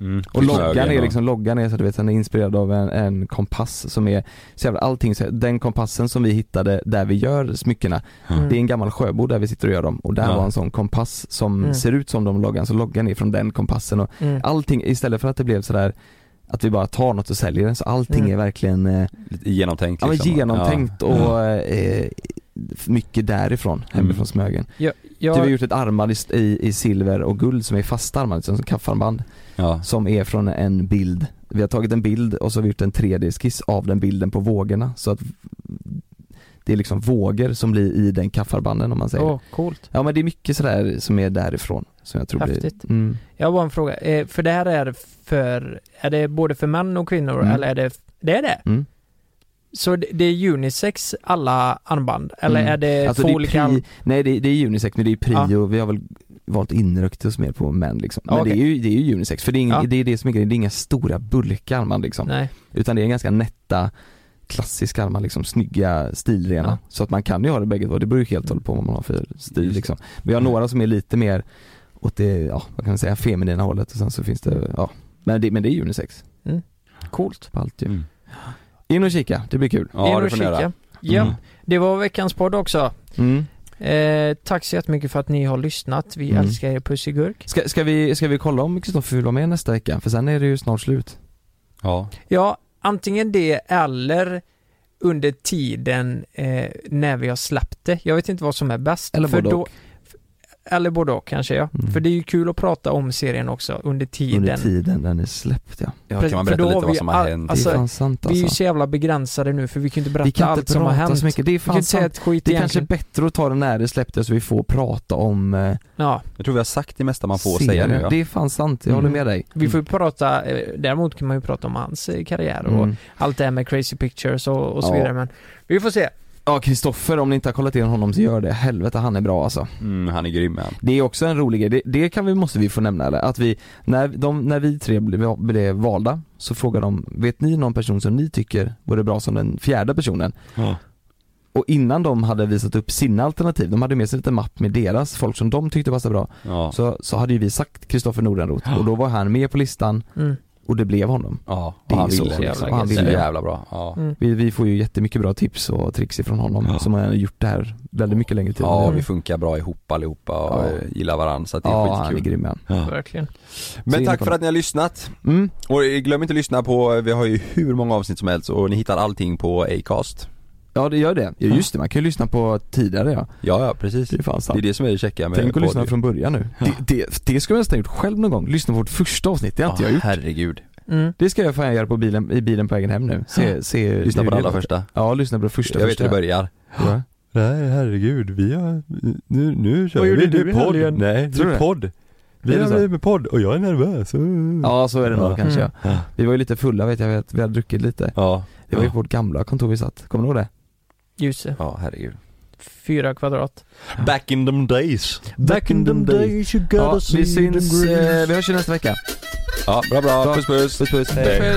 Mm.
Och loggan är
och-
liksom, loggan är så att du vet, den är inspirerad av en, en kompass som är, så jävla allting, så här, den kompassen som vi hittade där vi gör smyckena,
Mm.
det är en gammal sjöbo där vi sitter och gör dem och där
Ja.
var en sån kompass som
Mm.
ser ut som de loggan, så loggan är från den kompassen och
Mm.
allting, istället för att det blev sådär att vi bara tar något och säljer den, så allting
Mm.
är verkligen eh,
Lite genomtänkt
ja, men
liksom.
genomtänkt
Ja. Mm.
och eh, mycket därifrån, hemifrån Smögen.
Jag,
Typ vi har
jag,
gjort ett armband i, i, i silver och guld som är fasta armband, liksom som kaffanband
Ja.
Som är från en bild Vi har tagit en bild och så har vi gjort en 3D-skiss av den bilden på vågorna så att Det är liksom vågor som blir i den kaffarbanden om man säger
åh, coolt.
Ja men det är mycket sådär som är därifrån som jag tror
Häftigt.
blir mm.
Jag har bara en fråga. Eh, För det här är för, är det både för män och kvinnor
Mm.
eller är det, det är det?
Mm.
Så det, det är unisex alla armband? Eller
Mm.
är det
Alltså
två
det är
olika?
pri,
arm-
nej det, är- det är unisex men det är prio, vi har väl valt inriktat oss mer på män liksom. Men
Ja, okej.
det, är ju, det är ju unisex för det är, ing,
Ja.
det, är det som är grejen, det är inga stora bulkar man liksom
Nej.
Utan det är ganska nätta klassiska armar liksom, snygga, stilrena.
Ja.
Så att man kan ju ha det bägge två, det beror ju helt och hållet på vad man har för stil
Just.
liksom. Vi
Mm.
har några som är lite mer åt det, ja vad kan man säga, feminina hållet och sen så finns det, ja. Men det, men det är ju unisex
Coolt.
på allt ju.
Mm.
In och kika, det blir kul.
Ja,
In
det
och
får ni göra.
kika. Ja,
Mm.
det var veckans podd också.
Mm.
Eh, tack så jättemycket för att ni har lyssnat. Vi
Mm.
älskar er, puss i gurk.
Ska, ska, vi, ska vi kolla om Kristoffer vill vara med nästa vecka? För sen är det ju snart slut.
Ja.
Ja, antingen det eller under tiden eh, när vi har släppt det. Jag vet inte vad som är bäst.
Eller
för
både
då,
och.
eller både och kanske ja.
Mm.
För det är ju kul att prata om serien också under tiden.
Under tiden den är släppt ja.
ja, kan man berätta
För då
lite
har
vad
vi
som har
all-
hänt?
Det
alltså,
är fan sant
Vi är
alltså.
ju så jävla begränsade nu för vi kan ju inte berätta
Vi kan
allt
inte
som har
prata
hänt.
så mycket, det är
Vi kan
fan
inte säga
sant.
ett skit
Det är kanske är
egentligen.
bättre att ta den när det släpptes så vi får prata om eh,
Ja,
Jag tror vi har sagt det mesta man får
Ser
säga
det.
nu ja.
Det är fan sant, jag
Mm.
håller med dig.
vi får ju prata, eh, däremot kan man ju prata om hans eh, karriär och
Mm.
allt det här med crazy pictures och, och så
Ja.
vidare men vi får se.
Ja, Kristoffer, om ni inte har kollat in honom så gör det. Helvete, han är bra alltså.
Mm, han är grym han.
Det är också en rolig grej, det, det kan vi, måste vi få nämna eller? Att vi, när, de, när vi tre blev, blev valda så frågade de, vet ni någon person som ni tycker vore bra som den fjärde personen? Och innan de hade visat upp sina alternativ, de hade med sig lite mapp med deras folk som de tyckte passade bra,
Ja.
så, så hade ju vi sagt Kristoffer Nordenroth och då var han med på listan
Mm.
och det blev honom.
Ja,
Det
och
är
han
ju så
ville
jävla
liksom.
gött.
Han ville
Så
jävla bra. Ja.
Mm.
Vi, vi får ju jättemycket bra tips och tricks ifrån honom
Ja.
som har gjort det här väldigt mycket längre tid.
Ja,
Mm.
vi funkar bra ihop allihopa och
Ja.
eh, gillar varandra så att det är
ja han är
skitkul.
grym han.
Ja.
Verkligen.
Men
Så
tack
in-
för att ni har lyssnat.
Mm.
Och eh, glöm inte att lyssna på, vi har ju hur många avsnitt som helst och ni hittar allting på Acast.
Ja det gör det. Ja, just det, man kan ju lyssna på tidigare ja.
Ja, ja precis.
Det är fan
Det är
sant.
det som är det käcka med
Tänk att lyssna
podd.
från början nu. Det, det, det ska jag nästan ha gjort själv någon gång. Lyssna på vårt första avsnitt, det har inte
Ja,
jag gjort.
herregud.
Mm.
Det ska jag fan göra på bilen, i bilen på vägen hem nu. Se, se hur
Lyssna på det allra
låter.
första.
Ja, lyssna på det första.
Jag vet
första.
hur det börjar.
Ja.
Nej herregud, vi har, nu, nu kör
Vad gjorde
vi,
du
det
i
är podd.
helgen?
Nej,
Tror du
det
det?
är podd. Vi
Är det
har
så?
blivit med podd och jag är nervös.
Ja, så är det nog
Ja.
kanske
Mm.
ja. Vi var ju lite fulla vet jag, vi hade, vi hade druckit lite.
Ja,
Det var ju
Ja.
på vårt gamla kontor vi satt, kommer du ihåg det?
Ljuset,
ja herregud.
eh, fyra kvadrat.
Back in them days.
Back in them days
you
Ja, vi syns, eh, vi hörs ju nästa vecka.
Ja, bra bra.
Bra.
Puss puss.
Puss puss.
Hej.